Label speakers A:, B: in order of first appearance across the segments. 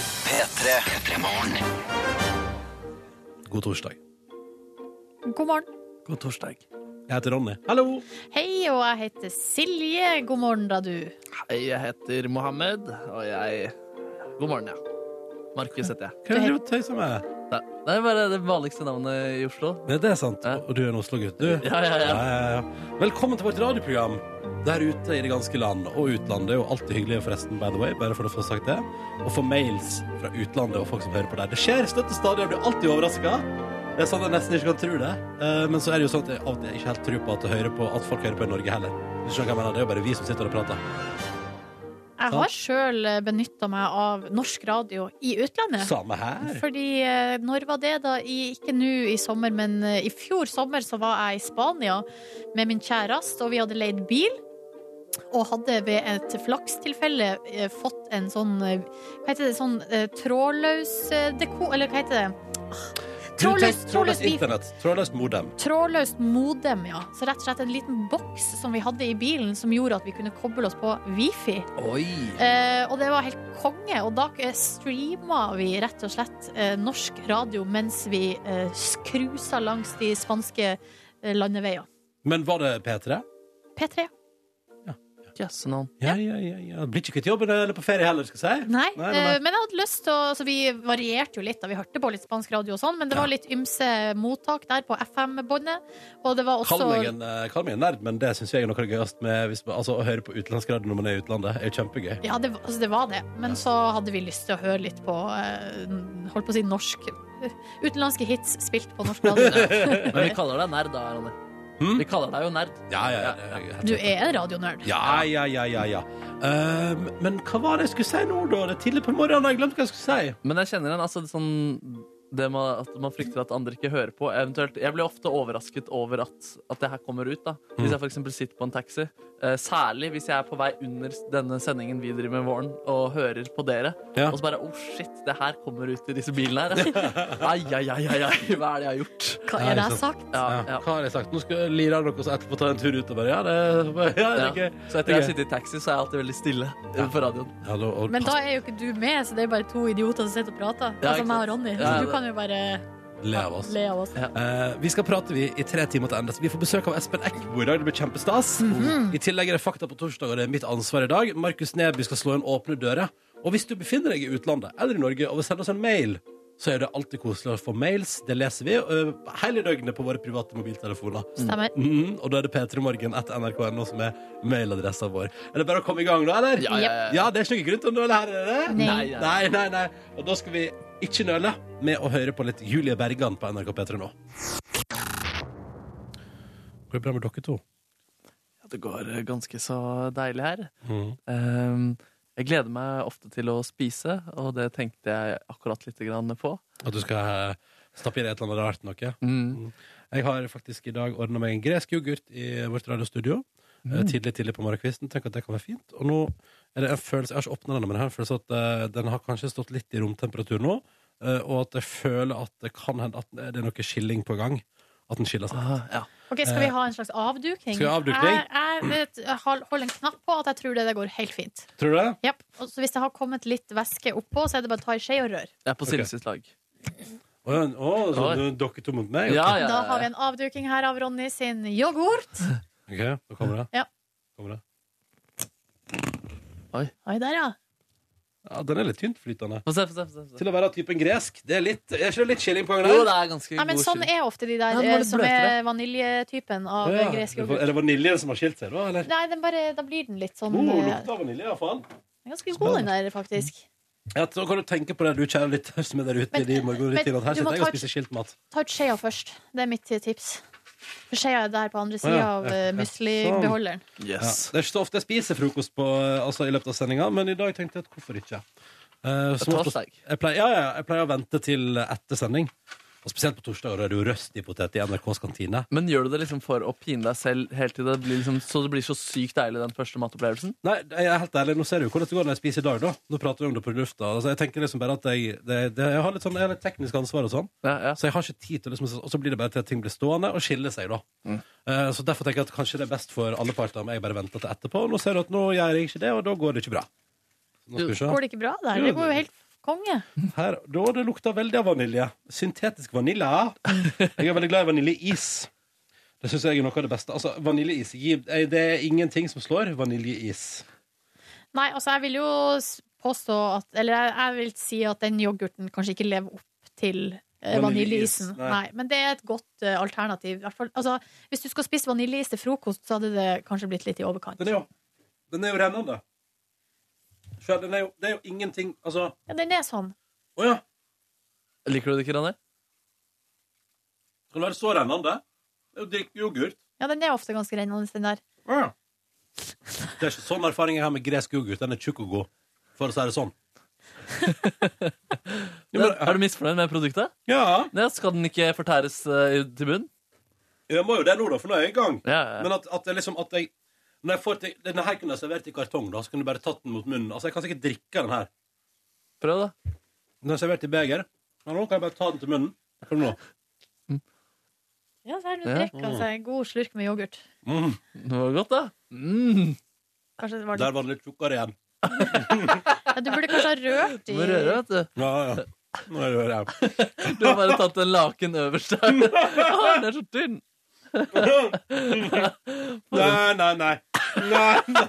A: P3.
B: God torsdag.
C: God morgen.
B: God torsdag. Jeg heter Ronny. Hallo!
C: Hei, og jeg heter Silje. God morgen, da, du.
D: Hei, jeg heter Mohammed, og jeg God morgen, ja. Markus heter jeg.
B: Hva er det du tøyser med?
D: Nei, Det er bare det vanligste navnet i Oslo.
B: Nei, det er sant.
D: Ja.
B: Og du er en Oslo-gutt, du?
D: Ja, ja, ja.
B: ja, ja. Velkommen til vårt radioprogram der ute i det ganske land og utlandet. Og alltid hyggelig, forresten, by the way, bare for å få sagt det. Og få mails fra utlandet og folk som hører på deg. Det skjer støtt og stadig, jeg blir alltid overraska. Det er sånn jeg nesten ikke kan tro det. Eh, Men så er det jo sånn at jeg av og til ikke helt tror på at, jeg hører på at folk hører på i Norge heller. Hvis Du skjønner hva jeg mener, Det er jo bare vi som sitter og prater.
C: Jeg har sjøl benytta meg av norsk radio i utlandet.
B: Samme her.
C: Fordi eh, når var det, da? I, ikke nå i sommer, men eh, i fjor sommer så var jeg i Spania med min kjæreste, og vi hadde leid bil. Og hadde ved et flakstilfelle eh, fått en sånn eh, Hva heter det? Sånn eh, trådløs eh, deko... Eller hva heter det? Trådløst, trådløst,
B: Trådløst
C: wi-
B: internett. Trådløst modem.
C: Trådløst modem, ja. Så rett og slett en liten boks som vi hadde i bilen som gjorde at vi kunne koble oss på wifi.
D: Oi!
C: Eh, og det var helt konge. Og da eh, streama vi rett og slett eh, norsk radio mens vi eh, skrusa langs de spanske eh, landeveier.
B: Men var det P3?
C: P3.
D: Jøsse navn.
B: Ja, ja, ja, ja. Blir ikke kvitt jobben eller på ferie heller, skal jeg si.
C: Nei,
B: Nei, nei, nei.
C: eh, men jeg hadde lyst til å Så vi varierte jo litt da vi hørte på litt spansk radio og sånn, men det var litt ymse mottak der på FM-båndet. Og det var
B: Kall
C: også
B: meg, en, eh, kall meg en nerd, men det syns jeg er noe av det gøyeste med hvis, man- altså, å høre på utenlandsk radio når man er i utlandet. er jo kjempegøy.
C: Ja, det, var- altså det var det. Men så hadde vi lyst til å høre litt på eh, Holdt på å si norsk eh, Utenlandske hits spilt på norsk radio.
D: Men vi kaller deg nerd, da, Ronny.
B: Hmm?
D: Vi kaller deg jo nerd.
B: Ja, ja, ja. det er helt
C: Du
B: sant.
C: er en radionerd.
B: Ja, ja, ja, ja, ja. Um, men hva var det jeg skulle si nå, da? Det er tidlig på morgenen, jeg glemte hva jeg skulle si.
D: Men jeg kjenner en altså, sånn det med at man frykter at andre ikke hører på. Eventuelt, jeg blir ofte overrasket over at, at det her kommer ut. da Hvis jeg for eksempel sitter på en taxi. Eh, særlig hvis jeg er på vei under denne sendingen vi driver med våren, og hører på dere.
B: Ja.
D: Og så bare oh shit, det her kommer ut i disse bilene her. altså. ai, ai, ai, ai, ai, hva er det jeg har gjort?
C: Hva
B: Ja,
C: er det jeg
B: ikke
C: har sagt?
D: Ja,
B: Ja,
D: ja.
B: Hva har jeg sagt? Nå skal Lira dere også etterpå ta en tur ut og bare Ja, det, ja, det er
D: Ja.
B: gøy.
D: Så etter jeg har sittet i taxi, så er jeg alltid veldig stille eh, på radioen.
B: Ja, da, og,
C: Men da er jo ikke du med, så det er bare to idioter som sitter og prater.
D: Ja,
C: altså
D: ikke
C: meg
D: sant.
C: og Ronny.
D: Ja,
C: Så
D: det-
C: du kan jo bare
B: le av oss.
C: le av oss.
B: Eh, vi skal prate vi i tre timer til ende. så Vi får besøk av Espen Eckbo i dag. Det blir kjempestas. I tillegg er det fakta på torsdag, og det er mitt ansvar i dag. Markus Neby skal slå inn åpne dører. Og hvis du befinner deg i utlandet eller i Norge og vil sende oss en mail, så er det alltid koselig å få mails. Det leser vi eh, hele døgnet på våre private mobiltelefoner.
C: Stemmer.
B: Mhm, og da er det p3morgen etter nrk.no som er mailadressa vår. Er det bare å komme i gang nå, eller?
D: Ja, ja, ja.
B: det er ikke noe grunn til å nøle her, er det det?
C: Nei.
D: Nei, nei.
B: Nei, nei, nei. Og da skal vi ikke nøle med å høre på litt Julie Bergan på NRK P3 nå. Går det bra med dere to?
D: Ja, det går eh, ganske så deilig her.
B: Mm.
D: Ehm, jeg gleder meg ofte til å spise, og det tenkte jeg akkurat litt grann på.
B: At du skal eh, stappe i deg et eller annet rart noe? Mm. Jeg har faktisk i dag ordna meg en gresk yoghurt i vårt radiostudio. eh, Tidlig tidlig på morgenkvisten. Tenk at det kan være fint. Og nå er det en følelse, Jeg har ikke åpna den, men jeg har en følelse at eh, den har kanskje stått litt i romtemperatur nå. eh, Og at jeg føler at det kan hende at det er noe skilling på gang. At den skiller seg.
D: Ah, ja.
C: Ok, Skal vi ha en slags avdukning?
B: Skal vi ha avdukning?
C: Jeg, jeg, vet- jeg hol- holder en knapp på at jeg tror det, det går helt fint.
B: Tror du det?
C: Japp. Og så hvis det har kommet litt væske oppå, så er det bare å ta i skje og rør.
D: Jeg er på Siljes lag.
B: Å, ja, å, så du- dere to mot meg? ok.
D: Ja, ja,
C: Da
D: ja,
C: har vi
D: ja.
C: en avduking her av Ronny sin yoghurt.
B: Ok, da kommer det.
C: Ja.
B: Kommer det.
C: Oi, der, ja.
B: Ja, den er litt tyntflytende.
D: Få se, få se. få se, få se.
B: Til å være av typen gresk. Det er litt, er ikke det litt chilling på gang
D: Jo,
B: der?
D: det er ganske
C: Nei, men
D: god
C: sånn
D: skyld.
C: er ofte de der
D: Ja, den var
C: eh,
D: litt
C: som
D: bløtere.
C: er vaniljetypen
B: Å,
C: av eh,
B: ja.
C: gresk
B: Er
C: yoghurt.
B: det vaniljen som har skilt seg, da? Eller?
C: Nei, den bare, da blir den litt sånn
B: Oh,
C: eh,
B: lukta av vanilje, iallfall.
C: den er Ganske god, den der, faktisk.
B: Ja, så kan du tenke på det du kjære lytter som er der ute i
C: Men-
B: de morgenrutinene. at
C: men
B: Her
C: du må
B: sitter jeg og
C: ta-
B: spiser skiltmat.
C: Ta ut skjea først. Det er mitt eh, tips. For skjea er der på andre
B: Å,
C: sida
B: ja.
C: av
B: Ja, Sånn. ja.
C: eh, muslibeholderen.
B: Ja.
D: Yes.
B: Det er ikke så ofte jeg spiser frokost på, eh, altså, i løpet av sendinga, men i dag tenkte jeg at hvorfor ikke? Eh, som
D: tar
B: oftest-
D: seg.
B: jeg, pleier, ja, ja, jeg pleier å vente til etter sending. Og spesielt på torsdager da er det jo røst i potet i NRKs kantine.
D: Men gjør du det liksom for å pine deg selv helt til det blir liksom, så det blir så sykt deilig, den første matopplevelsen?
B: Nei, jeg er helt ærlig, nå ser du jo hvordan det går når jeg spiser i dag, da. Nå prater vi om det på lufta. Altså, jeg tenker liksom bare at jeg, det, det, jeg har litt sånn jeg har litt teknisk ansvar og sånn.
D: Ja, ja.
B: Så jeg har ikke tid til å liksom, Og så blir det bare til at ting blir stående og skiller seg, da. Eh, så derfor tenker jeg at kanskje det er best for alle parter om jeg bare venter til etterpå. Og nå ser du at nå gjør jeg ikke det, og da går det ikke bra. Så Nå skal vi se.
C: Går det ikke bra der?
B: Jo,
C: Det går jo
B: det-
C: helt Konge.
B: Her, da det lukta veldig av vanilje. Syntetisk vanilje. Jeg er veldig glad i vaniljeis. Det syns jeg er noe av det beste. Altså, vaniljeis. gi- eh, Det er ingenting som slår vaniljeis.
C: Nei, altså jeg vil jo s- påstå at Eller jeg, jeg vil si at den yoghurten kanskje ikke lever opp til eh,
B: Vaniljeis,
C: vaniljeisen.
B: nei.
C: Nei. Men det er et godt eh, alternativ. I hvert fall, altså, hvis du skal spise vaniljeis til frokost, så hadde det kanskje blitt litt i overkant.
B: Den er jo, den er jo rennende. Sjøl, Den er jo, det er jo ingenting Altså,
C: Ja, den er sånn.
B: å ja!
D: Liker du det ikke, Ronny?
B: Kan det være så rennende? Det er jo drikk yoghurt.
C: Ja, den er ofte ganske rennende, den der.
B: Å ja. Det er ikke sånn erfaring jeg har med gresk yoghurt. Den er tjukk og god, for å si det sånn. Jo, men-
D: Er du misfornøyd med produktet?
B: ja,
D: Ja, skal den ikke fortæres eh, til bunn?
B: jeg må jo det nå, da, for nå er jeg i gang.
D: Ja, ja.
B: Men at, at det liksom at jeg Når jeg får til Denne her kunne jeg servert i kartong, da. Så kunne du bare tatt den mot munnen. Altså, jeg kan sikkert drikke den her.
D: Prøv, da.
B: Den er servert i beger. Men nå kan jeg bare ta den til munnen. Hør nå.
C: Ja, så er det
D: Ja.
C: drikker altså, en god slurk med yoghurt.
B: Mm.
D: Det var godt, da. Mm.
C: Kanskje det var litt.
B: Der var den litt tjukkere igjen.
C: Ja, du burde kanskje ha rørt
D: Du
C: i
D: må røre, vet du.
B: Ja, ja. Nå er det jo det.
D: Du har bare tatt en laken øverst der. Å, den er så tynn!
B: Nei, nei, nei. nei.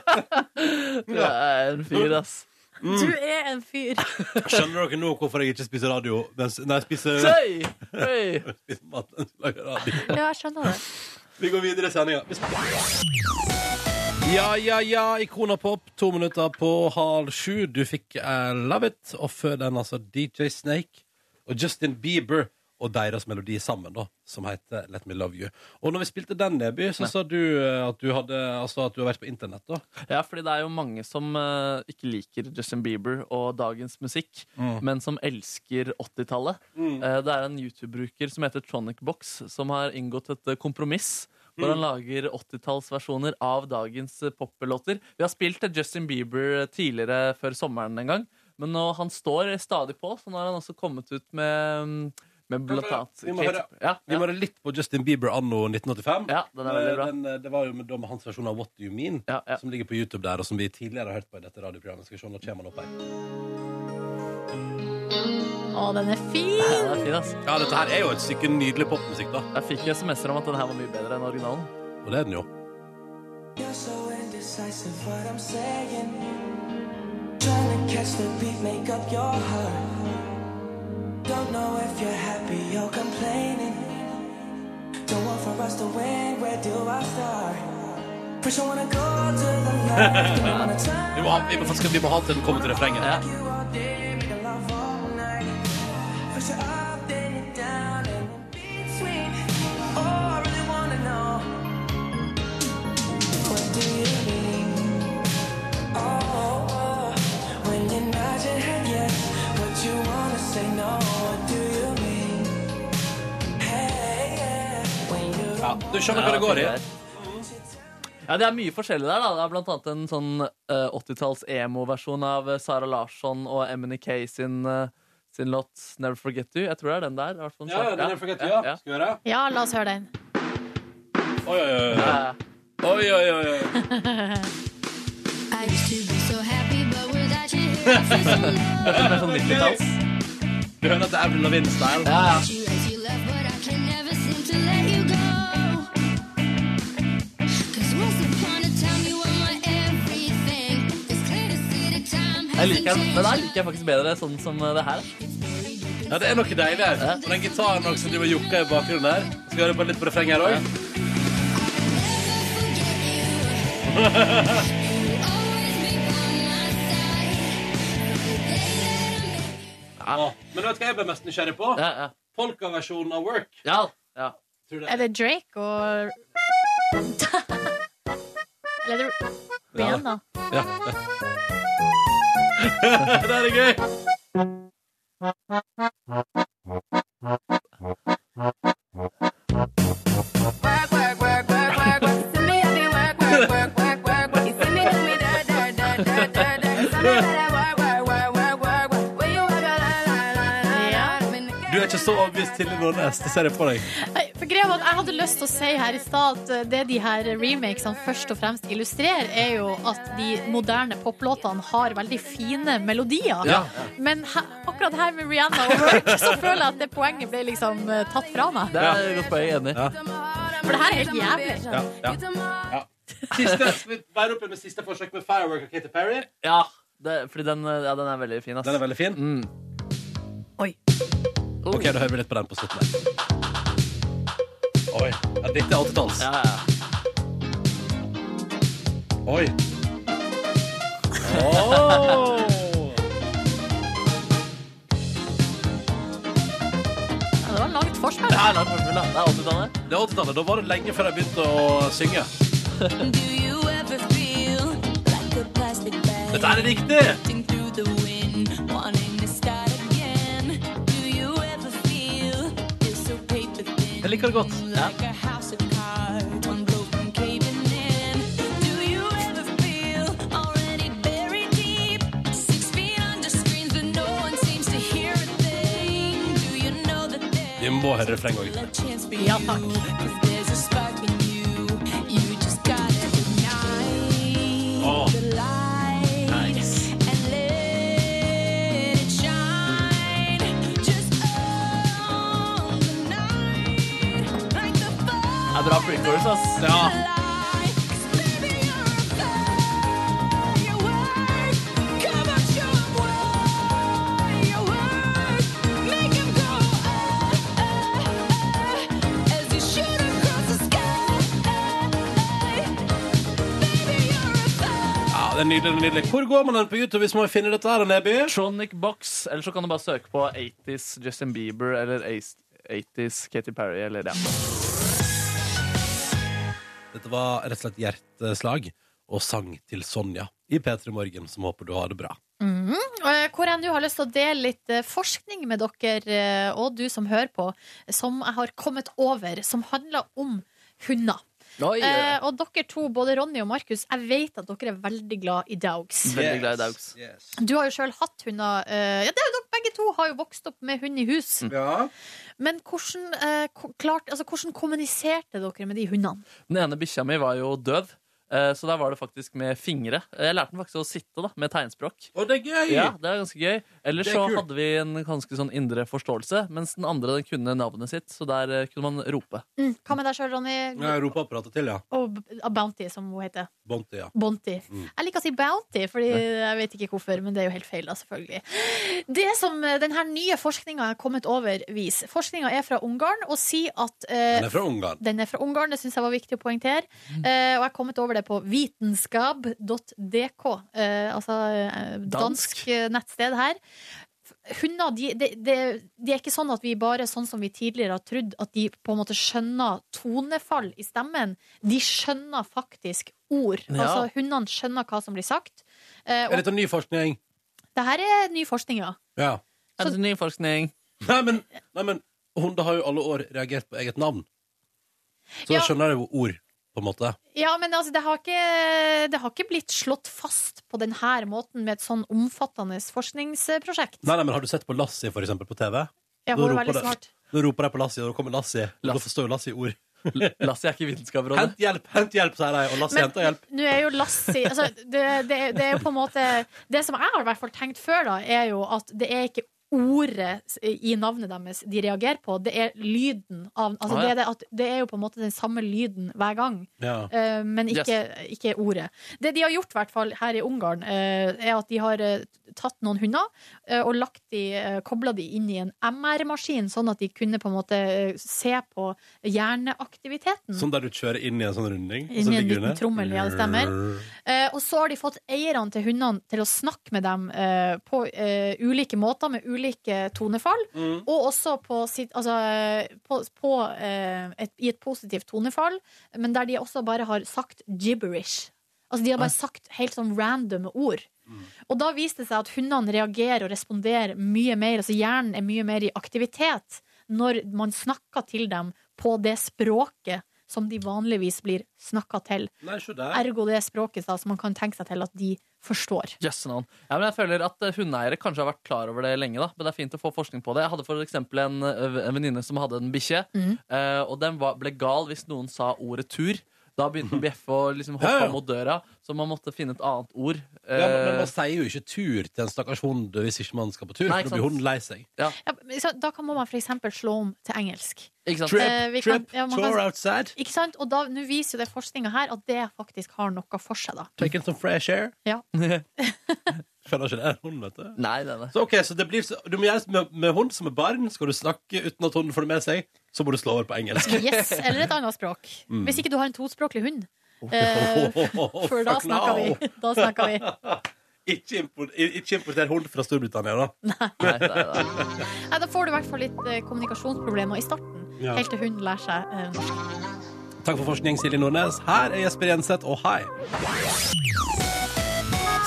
D: Du er en fyr, ass.
C: Du er en fyr.
B: Skjønner dere nå hvorfor jeg ikke spiser radio? Mens, nei, spiser,
D: Hei! Hei!
B: spiser mat mens jeg lager radio.
C: Ja, jeg skjønner det.
B: Vi går videre i sendinga. Ja, ja, ja. Ikona Pop, to minutter på halv sju. Du fikk eh, Love It, og før den altså DJ Snake og Justin Bieber og deres melodi sammen, da, som heter Let Me Love You. Og når vi spilte den, Neby, så sa du eh, at du hadde Altså at du har vært på internett, da.
D: Ja, fordi det er jo mange som eh, ikke liker Justin Bieber og dagens musikk,
B: Mm.
D: men som elsker 80-tallet. Eh, det er en YouTube-bruker som heter Tronicbox, som har inngått et eh, kompromiss. Hvor
B: Mm.
D: han lager 80-tallsversjoner av dagens eh, poplåter. Vi har spilt eh, Justin Bieber tidligere før sommeren en gang, men nå, han står stadig på, så nå har han også kommet ut med, mm, med
B: men,
D: blant annet
B: vi må høre-
D: ja,
B: Vi
D: ja,
B: må være litt på Justin Bieber anno 1985.
D: ja, den er veldig bra.
B: Den, eh, det var jo med, da med hans versjon av What Do You Mean,
D: Ja, ja.
B: som ligger på YouTube der, og som vi tidligere har hørt på i dette radioprogrammet. Skal vi se, nå kommer han opp her.
C: Å, den er
D: Ja,
C: fin!
D: den er fin, ass.
B: Ja, dette her er jo et stykke nydelig popmusikk, da.
D: Jeg fikk SMS-er om at den her var mye bedre enn originalen.
B: Og det er den jo.
A: You're so indecisive, what I'm saying. Trying to catch the beat, make up your heart. Don't know if you're happy or complaining. Don't want for us to win, where do I start? First, I wanna go to the left, I wanna turn
B: Vi må, ha, vi, må, faktisk- vi må ha til den kommer til refrenget.
D: Ja.
A: you all day, make love all night. First, you're up, then you're down, and in between. Oh, I really wanna know. What do you mean? Oh, oh, oh. when you nod your head yes, but you wanna say no. What do you mean? Hey, yeah. When you don't
B: Ja, du skjønner hva det går i.
D: Ja, Det er mye forskjellig der. da Det er Blant annet en sånn eh, 80-talls emo-versjon av eh, Sara Larsson og MNK sin, eh, sin låt 'Never Forget You'. Jeg tror det er den der. i hvert fall.
B: Ja, ja, den er forget, ja. Skal vi høre?
C: Ja, la oss høre den.
B: Oi, oi, oi.
D: Ja,
B: oi.
D: ja.
B: oi, oi, oi, oi.
E: I used to be so happy, but without you here, I
D: Det
E: feel so
D: er mer
E: low.
D: sånn 90-talls.
B: Du hører at det er Avril Lavigne-style.
D: Ja, ja.
E: You as you left, but I can never seem to let you go. 'Cause once upon a time you were my everything. It's clear to see that time
D: Jeg
E: hasn't
D: liker den. Den her
E: changed.
D: liker jeg faktisk bedre sånn som eh, det her.
B: Ja, det er noe deilig her. Og den gitaren også, som driver og jokker i bakgrunnen her. Skal vi høre på litt på refrenget her òg?
E: Forget you. You always be by my side. The day that I met
B: Men vet du hva jeg ble mest nysgjerrig på?
D: Ja, ja.
B: Polkaversjonen av Work.
D: ja, ja.
B: Tror du
C: Er
B: det?
C: det Drake og Eller er det Rihanna?
B: Ja. det er gøy. Du er ikke så overbevist til noen neste serie på deg.
C: Nei, for greia var at Jeg hadde lyst til å si her i stad at eh, det de her remakesene først og fremst illustrerer, er jo at de moderne poplåtene har veldig fine melodier.
B: Ja.
C: Men he, akkurat her med Rihanna og Work, så føler jeg at det poenget ble liksom eh, tatt fra meg.
D: Det er et godt poeng, jeg er enig. i.
B: Ja.
C: For det her er helt jævlig.
B: Ja, ja, ja. Siste, skal vi bære opp med siste forsøk med Firework av Katy Perry?
D: Ja, det, fordi den, eh, ja, den er veldig fin, ass. Mm.
B: Den er veldig fin.
C: Oi.
B: Ok, da hører vi litt på den på slutten. her. Oi. Ja, dette er 80-talls.
D: Ja, ja.
B: Oi. Åh!
C: Ja, det var langt forspill.
D: Det er langt forspill, da. Det er 80-tallet.
B: Det er 80-tallet. Da var det lenge før jeg begynte å synge.
E: Do you ever feel like a plastic bag?
B: Dette er riktig!
E: drifting through the wind, wanting to start again. Do you ever feel it's so paper thin?
B: Jeg liker det er godt.
E: Like a house of cards, one blow from caving in. Do you ever feel already buried deep? Six feet under screens, but no one seems to hear a thing. Do you know that
B: Vi
E: there's
B: må høre refrenget òg.
E: a chance for
C: Ja,
E: you?
C: takk.
E: 'Cause there's a spark in you. You just gotta ignite
B: Åh.
E: the light and let it shine. Just own the night like the
D: Det er bra pre-chorus, ass.
B: Ja.
E: firelight. 'Cause baby, you're a firework. Come on, show 'em why you're worth. Make 'em go ah, ah, ah, as you shoot across the sky. Baby, you're a fire.
B: Ja, det er nydelig, det er nydelig. Hvor går man den på YouTube hvis man finner dette her, Neby?
D: Tronic Box. Eller så kan du bare søke på 80s Justin Bieber eller 80s Katy Perry eller ja.
B: Dette var rett og slett hjerteslag og sang til Sonja i P3 Morgen, som håper du har det bra.
C: Eh, Hvor jeg nå har lyst til å dele litt eh, forskning med dere eh, og du som hører på, som jeg har kommet over, som handler om hunder. Eh, og dere to, både Ronny og Markus, jeg vet at dere er veldig glad i dogs.
D: Veldig glad i dogs.
B: Yes.
C: Du har jo sjøl hatt hunder. eh, ja, det er jo dere begge to har jo vokst opp med hund i hus.
B: Ja.
C: Men hvordan, eh, ko- klart, altså, hvordan kommuniserte dere med de hundene?
D: Den ene bikkja mi var jo døv, eh, så der var det faktisk med fingre. Jeg lærte den faktisk å sitte da, med tegnspråk.
B: Og det er gøy!
D: Ja, det er ganske gøy. Ellers
B: Det er
D: så
B: kult.
D: hadde vi en ganske sånn indre forståelse, mens den andre den kunne navnet sitt, så der eh, kunne man rope.
C: Mm, hva med deg sjøl, Ronny?
B: Jeg roper apparatet til, ja.
C: Og B- Bounty, som hun heter.
B: Bonte, ja.
C: Bounty.
B: Mm.
C: Jeg liker å si Bounty, Fordi jeg vet ikke hvorfor, men det er jo helt feil, da, selvfølgelig. Det som eh, denne nye forskninga er kommet over, viser Forskninga er fra Ungarn og sier at eh,
B: Den er fra Ungarn.
C: den er fra Ungarn, det syns jeg var viktig å poengtere. Eh, og jeg har kommet over det på vitenskap.dk, eh, altså eh, dansk,
D: Dansk.
C: eh, nettsted her. F- Hunder de, de, de, de er ikke sånn at vi bare, sånn som vi tidligere har trodd, at de på en måte skjønner tonefall i stemmen. De skjønner faktisk ord.
D: Ja.
C: Altså, hundene skjønner hva som blir sagt. Eh,
B: Er
C: og
B: dette ny forskning?
C: det her er ny forskning, ja.
B: Ja.
D: Er det ny forskning?
B: Nei, men, nei, men hunder har jo alle år reagert på eget navn. Så da
C: Ja.
B: skjønner jeg jo ord, på en måte.
C: Ja, men altså, det har, ikke, det har ikke blitt slått fast på denne måten med et sånn omfattende forskningsprosjekt.
B: Nei, nei, men Har du sett på Lassie, for eksempel, på TV?
C: Ja,
B: Nå
C: hun er
B: roper
C: veldig
B: det.
C: smart.
B: Nå roper de på Lassie, og da kommer Lassie. Og da
D: Lassie.
B: forstår jo Lassie ord.
D: Lassie er ikke i Vitenskapsrådet.
B: Hent hjelp, hent hjelp, sier de. Og Lassie
C: Men
B: henter hjelp.
C: nå er jo Lassi altså, det, det, det er jo på en måte Det som jeg har i hvert fall tenkt før, da, er jo at det er ikke ordet i navnet deres de reagerer på, det er lyden av altså,
D: Ah, ja.
C: det, er det, at, det er jo på en måte den samme lyden hver gang.
B: Ja.
C: Eh, men ikke, ikke ordet. Det de har gjort, i hvert fall her i Ungarn, eh, er at de har eh, tatt noen hunder eh, og lagt de, uh, kobla de inn i en MR-maskin, sånn at de kunne på en måte eh, se på hjerneaktiviteten.
B: Sånn der du kjører inn i en sånn runding? og så
C: Inn i en
B: ligger du
C: liten
B: ned.
C: trommel, ja, det stemmer. Eh, og så har de fått eierne til hundene til å snakke med dem eh, på eh, ulike måter, med ulike tonefall.
B: Mm.
C: Og også på sitt, altså, eh, på, på, eh, et, i et positivt tonefall, men der de også bare har sagt gibberish. Altså De har bare sagt helt sånn randome ord. Og da viste det seg at hundene reagerer og responderer mye mer. Altså Hjernen er mye mer i aktivitet når man snakker til dem på det språket som de vanligvis blir snakka til.
B: Nei, se der.
C: Ergo det språket da, som man kan tenke seg til at de forstår.
D: Jøsse navn. Ja, men jeg føler at eh, hundeeiere kanskje har vært klar over det lenge, da, men det er fint å få forskning på det. Jeg hadde for eksempel en, eh, en venninne som hadde en bikkje,
C: Mhm.
D: eh, og den var, ble gal hvis noen sa ordet tur. Da begynte den å bjeffe og liksom
B: Ja,
D: hoppa
B: ja.
D: mot døra, så man måtte finne et annet ord.
B: Ja, men, men
D: Eh,
B: man sier jo ikke tur til en stakkars hund hvis ikke man skal på tur.
D: Nei,
B: for
D: ikke
B: da blir
D: sant.
B: hunden lei seg.
C: Ja, men så da kan må man for eksempel slå om til engelsk.
D: ikke sant?
B: Trip,
C: Eh, vi kan-
B: trip,
C: ja, man kan-
B: tour outside.
C: Ikke sant? Og da, nå viser jo det forskninga her at det faktisk har noe for seg, da.
B: Taking some fresh air.
C: Ja.
B: Skjønner ikke det er en hund, vet du.
D: Nei, nei, nei.
B: Så ok, så det blir, så- du må gjøre det med, med hund som er barn. Skal du snakke uten at hunden får det med seg, så må du slå over på engelsk.
C: Yes, Eller et annet språk.
B: Mm.
C: Hvis ikke du har en tospråklig hund. Eh, for da
B: Fuck
C: snakker
B: no.
C: vi. Da snakker vi.
B: Ikke impor- ikke importer hund fra Storbritannia, da.
D: nei, nei, nei.
C: Nei, da får du i hvert fall litt eh, kommunikasjonsproblemer i starten.
B: Ja.
C: Helt til hunden lærer seg eh, norsk.
B: Takk for forskning, Silje Nordnes. Her er Jesper Jenseth, og hei!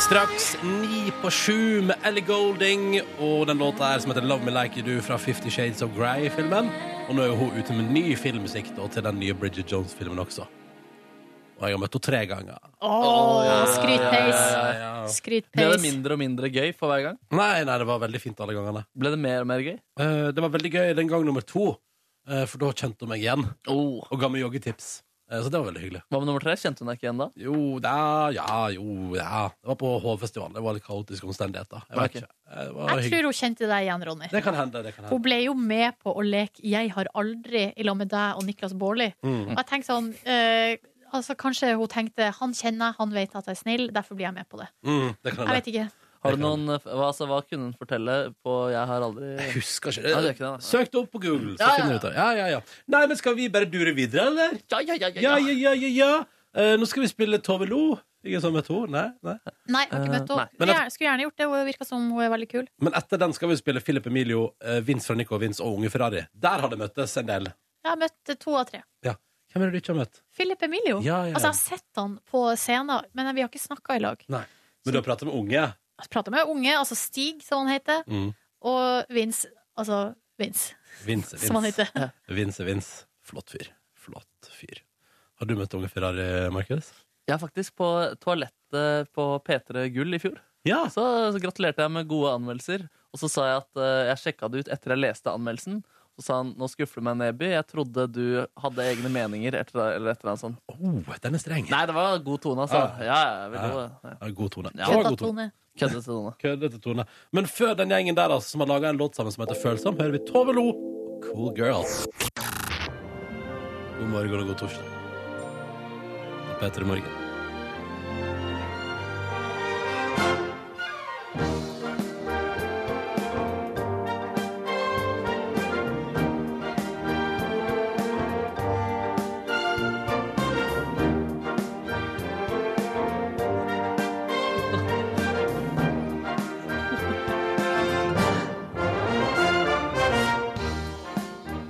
B: Straks ni på sju med Ellie Golding og den låta her som heter Love Me Like You Do fra Fifty Shades of Grey-filmen. Og nå er jo hun ute med ny filmmusikk da, til den nye Bridget Jones-filmen også. Og jeg har møtt henne tre ganger.
C: Åh,
B: Ja,
C: skrytpeis.
B: ja.
D: Ble det
C: Skrytpeis.
D: mindre og mindre gøy for hver gang?
B: Nei, nei, det var veldig fint alle gangene.
D: Ble det mer og mer gøy?
B: Eh, det var veldig gøy den gang nummer to, eh, for da kjente hun meg igjen
D: Oh.
B: og ga meg joggetips. Eh, så det var veldig hyggelig.
D: Hva med nummer tre? Kjente hun deg ikke igjen da?
B: Jo, da, ja, jo, ja. Det var på Hovfestivalen. Det var litt kaotiske omstendigheter. Jeg vet
D: Ok.
B: ikke. Eh, Det, var
C: Jeg
B: hyggelig.
C: tror hun kjente deg igjen, Ronny.
B: det kan hende. det kan
C: Hun
B: hende.
C: ble jo med på å leke 'Jeg har aldri' i lag med deg og Niklas Baarli.
B: Mm.
C: Og jeg tenkte sånn eh, altså Kanskje hun tenkte 'han kjenner jeg, han vet at jeg er snill', derfor blir jeg med på det.
B: Mm, det kan
C: Jeg
B: hende.
C: vet ikke.
D: Har
B: Det
D: du
B: kan
D: noen, hva, altså, hva kunne hun fortelle på Jeg har aldri
B: Jeg husker
D: Nei,
B: ikke.
D: det
B: det.
D: er ikke det, da.
B: Søk det opp på Google, så
D: Ja, ja,
B: finner du ut av det. Ja, ja, ja. Nei, men skal vi bare dure videre, eller?
D: Ja, ja, ja!
B: Ja, ja, ja, ja, ja. Eh, nå skal vi spille Tove Lo. Ikke sånn med to, nei, nei.
C: Nei, jeg har ikke møtt
D: Eh, nei.
C: henne.
B: Men
C: Jeg skulle gjerne gjort det. Hun virker som hun er veldig kul.
B: Men etter den skal vi spille Philip Emilio, eh, Vince fra Nico og Vince og Unge Ferrari. Der har det møttes en del.
C: Jeg har møtt to av tre.
B: Ja. Hvem er det du ikke har møtt?
C: Philip Emilio.
B: Ja, ja, ja.
C: Altså, jeg har sett han på scenen, men vi har ikke snakka i lag.
B: Nei. Men du har pratet med unge?
C: Jeg prata med unge, altså Stig, som han heter,
B: Mm.
C: og Vince, altså Vince,
B: Vince, Vince.
C: som han heter.
B: Vince er Vince. Flott fyr. Flott fyr. Har du møtt unge Ferrari, Markus?
D: Jeg er faktisk på toalettet på P3 Gull i fjor.
B: Ja.
D: Så, så gratulerte jeg med gode anmeldelser. Og så sa jeg at eh, jeg sjekka det ut etter jeg leste anmeldelsen. Så sa han nå skuffer du meg, Neby. Jeg trodde du hadde egne meninger. Etter, eller et eller annet sånt.
B: Oh, den er streng.
D: Nei, det var god tone, altså.
B: Ja.
D: Ja, ja, veldig
B: Ja.
D: god. Ja.
B: Ja, god tone. Det
D: Ja.
B: var
C: Kødda
B: god tone.
C: Tone.
D: Køddete tone.
B: Køddete tone. Men før den gjengen der altså, som har laga en låt sammen som heter Følsom, hører vi Tove Lo og Cool Girls. God morgen og god torsdag. Det er Peter i morgen.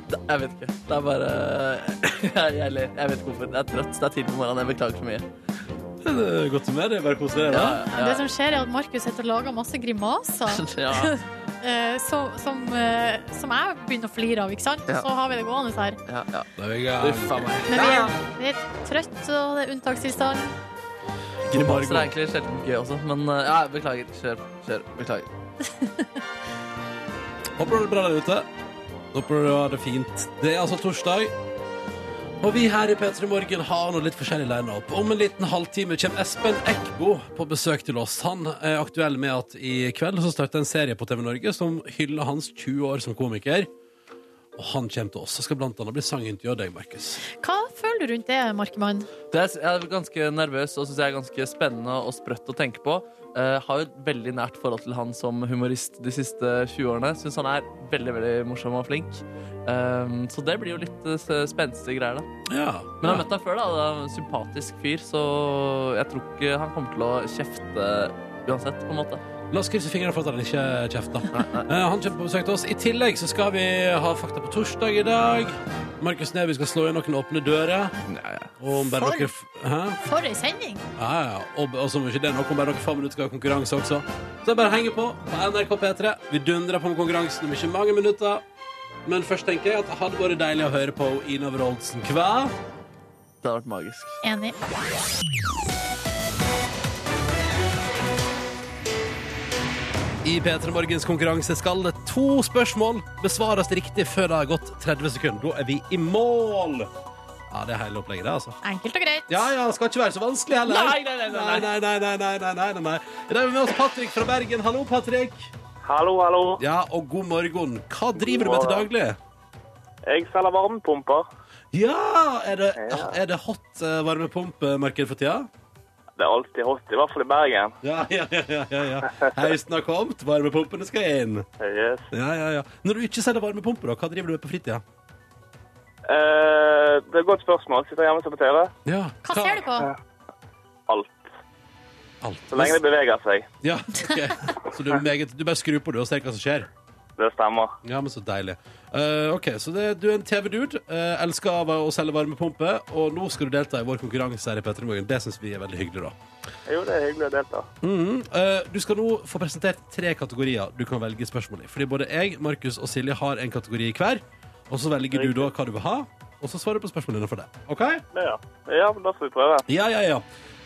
D: Det- Jeg vet ikke. Det er bare Jeg, jeg ler. Jeg vet ikke hvorfor. Jeg er trøtt. Det er tidlig på morgenen. Jeg beklager så mye.
B: Det er Godt humør, det er bare koselig.
D: Ja,
B: Ja.
D: ja.
C: Det som skjer, er at Markus sitter og lager masse grimaser.
D: ja,
C: eh, som, som, eh, som jeg begynner å flire av, ikke sant?
D: Ja.
C: Så har vi det gående her.
D: ja, ja.
B: Da er vi i gang.
D: Uff a meg.
C: Men vi er, vi er trøtt, og det er unntakstilstand.
D: Så det er egentlig sjelden gøy også, men eh, ja, beklager. Kjør. kjør, Beklager.
B: Håper du har det bra der ute. Håper du har det fint. Det er altså torsdag. Og vi her i P3 Morgen har noe litt forskjellig line-up. Om en liten halvtime kommer Espen Eckbo på besøk til oss. Han er aktuell med at i kveld så starter en serie på TV Norge som hyller hans 20 år som komiker. Og han kommer til oss. og skal blant annet bli sangintervjuet av deg, Markus.
C: Hva føler du rundt det, Markemann?
D: Det er, jeg er ganske nervøs og syns jeg er ganske spennende og sprøtt å tenke på. Eh, har jo et veldig nært forhold til han som humorist de siste 20 årene. Syns han er veldig veldig morsom og flink. Eh, så det blir jo litt eh, spenstige greier, da.
B: Ja.
D: Men jeg har møtt ham før, da. Det er en sympatisk fyr, så jeg tror ikke han kommer til å kjefte uansett, på en måte.
B: La oss krysse fingrene for at han ikke kjefter. Eh, Han kommer på besøk til oss. I tillegg så skal vi ha Fakta på torsdag i dag. Markus Neby skal slå inn noen åpne dører. Og om bare
C: For-
B: noen f- Hæ?
C: For ei sending!
B: Ja, ja. Og, og som ikke det er nok, om bare noen få minutter skal ha konkurranse også. Så det er bare å henge på på NRK P3. Vi dundrer på med konkurransen om ikke mange minutter. Men først tenker jeg at det hadde vært deilig å høre på Ina Wroldsen hva?
D: Det hadde vært magisk.
C: Enig.
B: I P3 Morgens konkurranse skal det to spørsmål besvares riktig før det har gått 30 sekunder. Da er vi i mål. Ja, det er hele opplegget, det, altså.
C: Enkelt og greit.
B: Ja, ja, det skal ikke være så vanskelig heller.
D: Nei, nei, nei, nei, nei.
B: nei, nei, nei, nei, nei, nei, nei, nei. I dag er vi med oss Patrick fra Bergen. Hallo, Patrick.
F: Hallo, hallo.
B: Ja, og god morgen. Hva driver du med til daglig?
F: Jeg selger varmepumper.
B: Ja, er det, er det hot eh, varmepumpemarked for tida?
F: Det er alltid hot, i hvert fall i Bergen.
B: Ja, ja, ja, ja, ja, ja. Høsten har kommet, varmepumpene skal inn.
F: Yes.
B: Ja, ja, ja. Når du ikke selger varmepumper, da, hva driver du med på fritida?
F: Eh, det er et godt spørsmål. Sitter hjemme og ser på TV.
B: Ja,
C: Hva ser du på?
F: Alt.
B: Alt.
F: Så lenge det beveger seg.
B: Ja, ok. Så du, er meget, du bare skrur på du og ser hva som skjer?
F: Det stemmer.
B: Ja, men så deilig. Eh, ok, så det, du er en TV-dude, eh, elsker av å selge varmepumpe, og nå skal du delta i vår konkurranse her i Petremorgen. Det synes vi er veldig hyggelig, da.
F: Jo, det er hyggelig å delta.
B: Mhm. Eh, du skal nå få presentert tre kategorier du kan velge spørsmål i. Fordi både jeg, Markus og Silje har en kategori hver, og så velger du da hva du vil ha, og så svarer du på spørsmålene for det. Ok?
F: Det, ja. ja, men da får vi prøve.
B: Ja, ja, ja.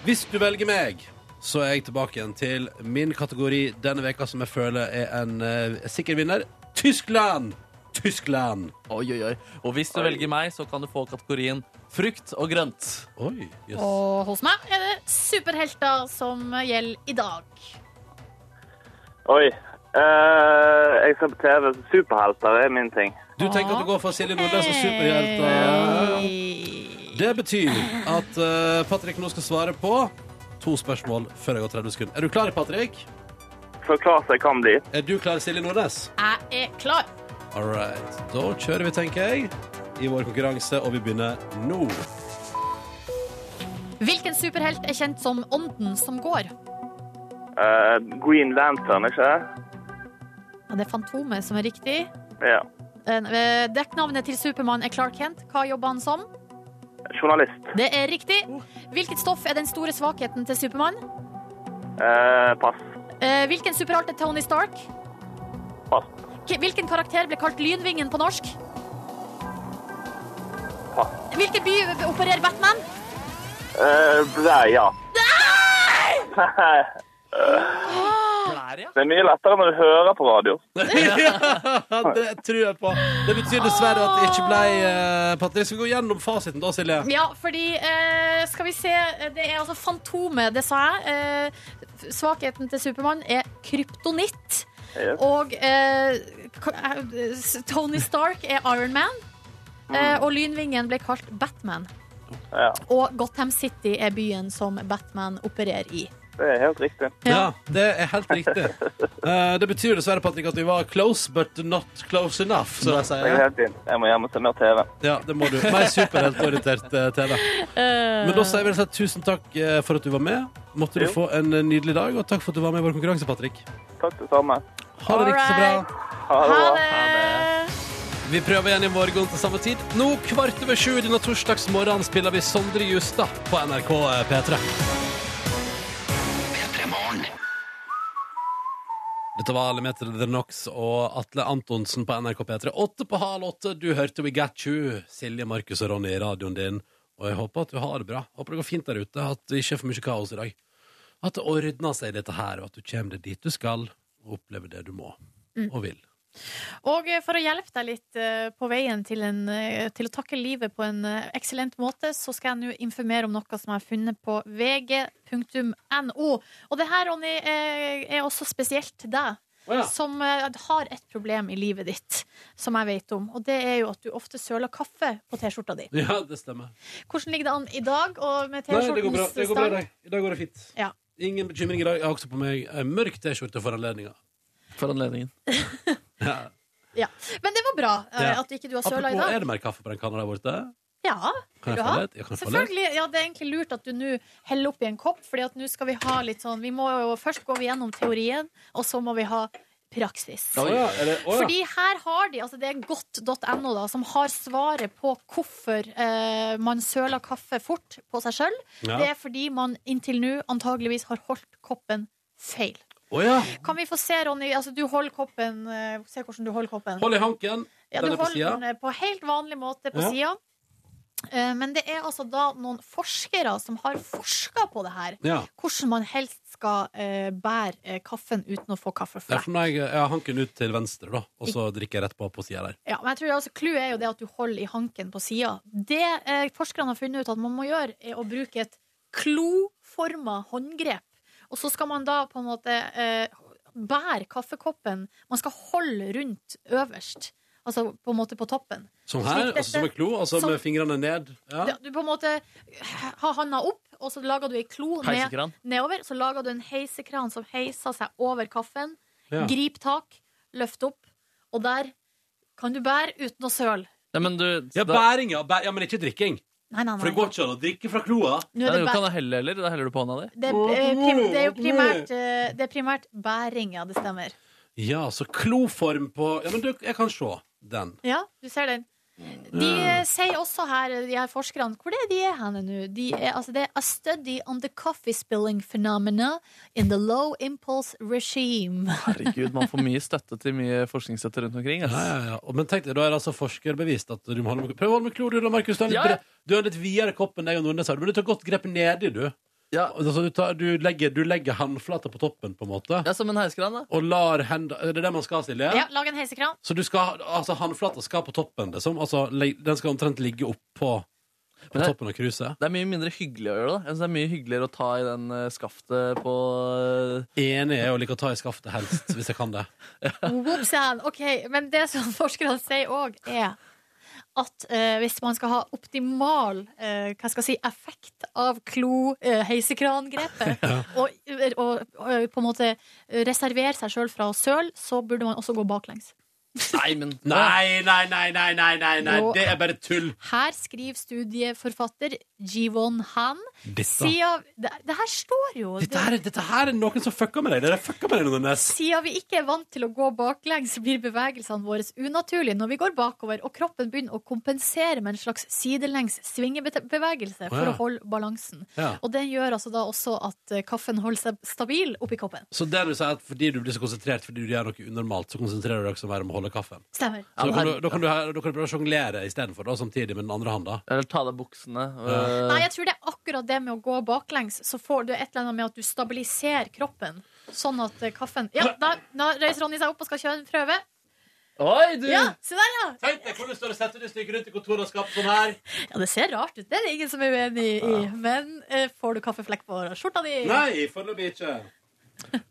B: Hvis du velger meg, så er jeg tilbake igjen til min kategori denne veka som jeg føler er en eh, sikker vinner. Tyskland! Tyskland!
D: Oi, oi, oi. Og hvis du velger meg, så kan du få kategorien frukt og grønt.
B: Oi, jøss.
C: Og hos meg er det superhelter som gjelder i dag.
F: Oi. Eh, jeg ser på TV. så Superhelter er min ting.
B: Du tenker at du går for Silje Nordnes og superhelter.
C: Hei.
B: Det betyr at eh, Patrick nå skal svare på to spørsmål før jeg går 30 sekunder. Er du klar, Patrick?
F: Forklar seg kan bli.
B: Er du klar, Silje Nordnes?
C: Jeg er klar.
B: All right. Da kjører vi, tenker jeg, i vår konkurranse, og vi begynner nå.
C: Hvilken superhelt er kjent som Ånden som går?
F: Eh, Green Lantern, ikke det?
C: Ja, Det er Fantomet som er riktig.
F: Ja.
C: Eh, eh, Dekknavnet til Supermann er Clark Kent. Hva jobber han som?
F: Journalist.
C: Det er riktig. Hvilket stoff er den store svakheten til Supermann?
F: Eh, pass.
C: Eh, Hvilken superhelt er Tony Stark?
F: Pass.
C: K- Hvilken karakter ble kalt Lynvingen på norsk?
F: Pass.
C: Hvilken by opererer Batman?
F: Eh, blei, ja. Nei!
D: Blær, ja.
F: Det er mye lettere når du hører på radio.
B: Ja, det tror jeg på. Det betyr dessverre at det ikke ble uh, Patrick. Skal vi gå gjennom fasiten da, Silje?
C: Ja, fordi eh, Skal vi se. Det er altså Fantomet, det sa jeg. Eh, f- svakheten til Supermann er kryptonitt.
F: Yes.
C: Og eh, k- eh, s- Tony Stark er Iron Man. Eh, og Lynvingen ble kalt Batman.
F: Mm. Ja,
C: Og Gotham City er byen som Batman opererer i.
F: det er helt riktig.
B: Ja, det er helt riktig. Eh, det betyr dessverre Patrick, at vi var close, but not close enough, som de
F: Det er
B: sier.
F: helt fint. Jeg må hjem og se mer TV.
B: Ja, det må du. Mer superheltorientert eh, TV. Men da sier vi rett og slett tusen takk eh, for at du var med. Måtte du
F: Jo.
B: få en eh, nydelig dag, og takk for at du var med i vår konkurranse, Patrick.
F: Takk det samme.
B: Ha det riktig så bra.
F: Ha det bra.
B: Vi prøver igjen i morgen til samme tid. Nå kvart over sju denne torsdagsmorgenen spiller vi Sondre Justad på NRK eh, P3. Dette var Lemeter The Knox og Atle Antonsen på NRK P3. Åtte på halv åtte, du hørte We Got You. Silje, Markus og Ronny i radioen din. Og jeg håper at du har det bra. Håper det går fint der ute, at det ikke er for mye kaos i dag. At det ordner seg, dette her, og at du kommer deg dit du skal, og opplever det du må og vil.
C: Og eh, for å hjelpe deg litt eh, på veien til, en, eh, til å takle livet på en eh, eksellent måte, så skal jeg nå informere om noe som jeg har funnet på vg.no. Og det her, Ronny, eh, er også spesielt til deg. Som eh, har et problem i livet ditt, som jeg vet om. Og det er jo at du ofte søler kaffe på T-skjorta di.
B: Ja, det stemmer.
C: Hvordan ligger det an i dag? Og med
B: Nei, det går bra.
C: T-skjortens
B: Det går bra i
C: stand?
B: dag. I dag går det fint.
C: Ja.
B: Ingen bekymring i dag. Jeg har også på meg eh, mørk T-skjorte for anledninga.
D: For anledningen.
B: Ja.
C: Ja. Men det var bra eh,
B: Ja.
C: at ikke du har søla i
B: Apropos, er
C: dag.
B: det mer kaffe på den kanna der borte?
C: Ja,
B: Kan jeg
C: Vil du
B: få
C: ha?
B: litt? Jeg kan få litt.
C: Selvfølgelig, ja, Det er egentlig lurt at du nå heller oppi en kopp. Fordi at nå skal vi ha litt sånn Vi må jo først gå gjennom teorien, og så må vi ha praksis.
B: Å ja, er det, å ja.
C: Fordi her har de, altså Det er godt.no da som har svaret på hvorfor eh, man søler kaffe fort på seg sjøl. Det
B: Ja.
C: er fordi man inntil nå antageligvis har holdt koppen feil.
B: Å ja.
C: Kan vi få se, Ronny? altså Du holder koppen eh, Se hvordan du holder koppen.
B: Hold i hanken. Den
C: Ja,
B: er
C: du
B: på
C: holder
B: sida.
C: den eh, på helt vanlig måte på
B: Ja.
C: sida. Eh, Men det er altså da noen forskere som har forska på det her.
B: Ja.
C: Hvordan man helst skal eh, bære eh, kaffen
B: Det
C: uten å få
B: er for
C: kaffeflekk.
B: når jeg, jeg har hanken ut til venstre, da, og så drikker jeg rett på på sida der.
C: Ja, men jeg tror altså, Clouet er jo det at du holder i hanken på sida. Det eh, forskerne har funnet ut at man må gjøre, er å bruke et kloforma håndgrep. Og så skal man da på en måte eh, bære kaffekoppen. Man skal holde rundt øverst. Altså på en måte på toppen.
B: Som her,
C: Slik dette-
B: altså som en klo, altså
C: som-
B: med fingrene ned. Ja.
C: Du, du på en måte har handa opp, og så lager du ei klo ned,
D: Heisekran.
C: nedover. Så lager du en heisekran som heiser seg over kaffen.
B: Ja.
C: Grip tak, løft opp, og der kan du bære uten å søle.
D: Ja, men du,
B: Ja,
D: da,
B: bæring, ja. Bæ ja, men ikke drikking.
C: Nei, nei, nei.
B: For det går ikke an å drikke fra kloa.
C: Nå
D: ja,
C: er det
D: du
C: bæ-
D: kan da helle, eller? Da heller du på hånda di.
C: Det, er, eh, prim, det er jo primært, eh, det er primært bæring, ja, det stemmer.
B: Ja, så kloform på Ja, men du, jeg kan se den.
C: Ja, du ser den. De eh, sier også her, eh, de her forskerne, hvor er de er henne nå? De er, altså, det er a study on the coffee spilling phenomena in the low impulse regime.
D: Herregud, man får mye støtte til mye forskningsstøtte rundt omkring. altså.
B: Ja,
D: Ass.
B: ja, ja. Og- Men tenk deg, da er det altså forskerbevist at du må holde med Prøv å holde med klo, du da, Markus. Du har en litt,
D: Ja, ja.
B: bre- du har en litt videre kopp enn jeg og Nordnes har. Men du tar godt grep nedi, du.
D: Ja,
B: Altså, du, tar, du legger, du legger håndflata på toppen, på en måte.
D: ja som en heiskran, da.
B: Og lar henda Er det det man skal, Silje?
C: Ja, lag en heisekran.
B: Så du skal, altså håndflata skal på toppen, liksom? Altså, le- den skal omtrent ligge oppå på
D: Men det-
B: toppen av kruset?
D: Det er mye mindre hyggelig å gjøre det. da. Jeg synes det er mye hyggeligere å ta i den eh, skaftet på eh,
B: Enig er å like å ta i skaftet helst, hvis jeg kan det.
C: Whoops, and. Ok, men det som forskerne sier òg, er at eh, hvis man skal ha optimal eh, hva skal jeg si, effekt av klo-heisekrangrepet, og, og, og på en måte reservere seg sjøl fra å søle, så burde man også gå baklengs.
D: Nei, men
B: Nei, nei, nei, nei, nei, nei, nei.
C: Jo.
B: det er bare tull!
C: Her skriver studieforfatter Jivon Han
B: Dette,
C: siden, det, det her står jo
B: dette,
C: det,
B: her, dette her er noen som fucker med deg. Dere fucker med deg, Nordnes.
C: Siden vi ikke er vant til å gå baklengs, blir bevegelsene våre unaturlige når vi går bakover, og kroppen begynner å kompensere med en slags sidelengs svingebevegelse for
B: Å, ja.
C: å holde balansen.
B: Ja.
C: Og den gjør altså da også at eh, kaffen holder seg stabil oppi koppen.
B: Så det du sier at fordi du blir så konsentrert fordi du gjør noe unormalt, så konsentrerer du deg også mer om å holde kaffen?
C: Stemmer.
B: Så
D: Ja,
B: da, kan du,
D: men-
B: da, kan du, da kan du prøve å sjonglere istedenfor, samtidig med den andre handa.
D: Eller ta av deg buksene. eh.
B: Ja.
C: Nei, jeg tror det er akkurat det med å gå baklengs, så får du et eller annet med at du stabiliserer kroppen. Sånn at eh, kaffen Ja, da, da reiser Ronny seg opp og skal kjøre en prøve.
D: Oi,
B: Mm.
D: du!
C: Ja, se der, ja!
B: Tenk deg hvor du står og setter det stykket rundt i kontoret og skaper sånn her.
C: Ja, Det ser rart ut, det er det ingen som er uenig i. Men eh, får du kaffeflekk på skjorta di?
B: Nei, foreløpig ikke.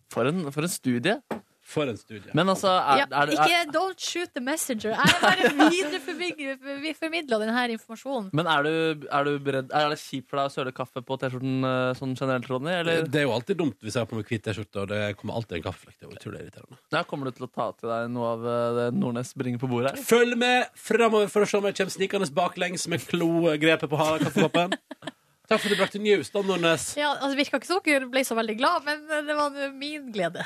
D: For, en, for en studie.
B: For en studie.
D: Men altså er,
C: Ja,
D: er, er,
C: ikke don't shoot the messenger. Jeg bare videreformidla denne informasjonen.
D: Men er du, er du beredd Er det kjipt for deg å søle kaffe på T-skjorten eh, sånn generelt, Ronny? Eller
B: Det er jo alltid dumt hvis jeg har på meg hvit T-skjorte, og det kommer alltid en kaffeflekk. Det er jo utrolig irriterende.
D: ja, kommer du til å ta til deg noe av eh, det Nordnes bringer på bordet? her?
B: Følg med framover for å se om jeg kommer snikende baklengs med klogrepet på ha- kaffekoppen. Takk for at du brakte news, da, Nordnes.
C: Ja, altså, det Virka ikke som dere ble så veldig glad, men eh, det var nå min glede.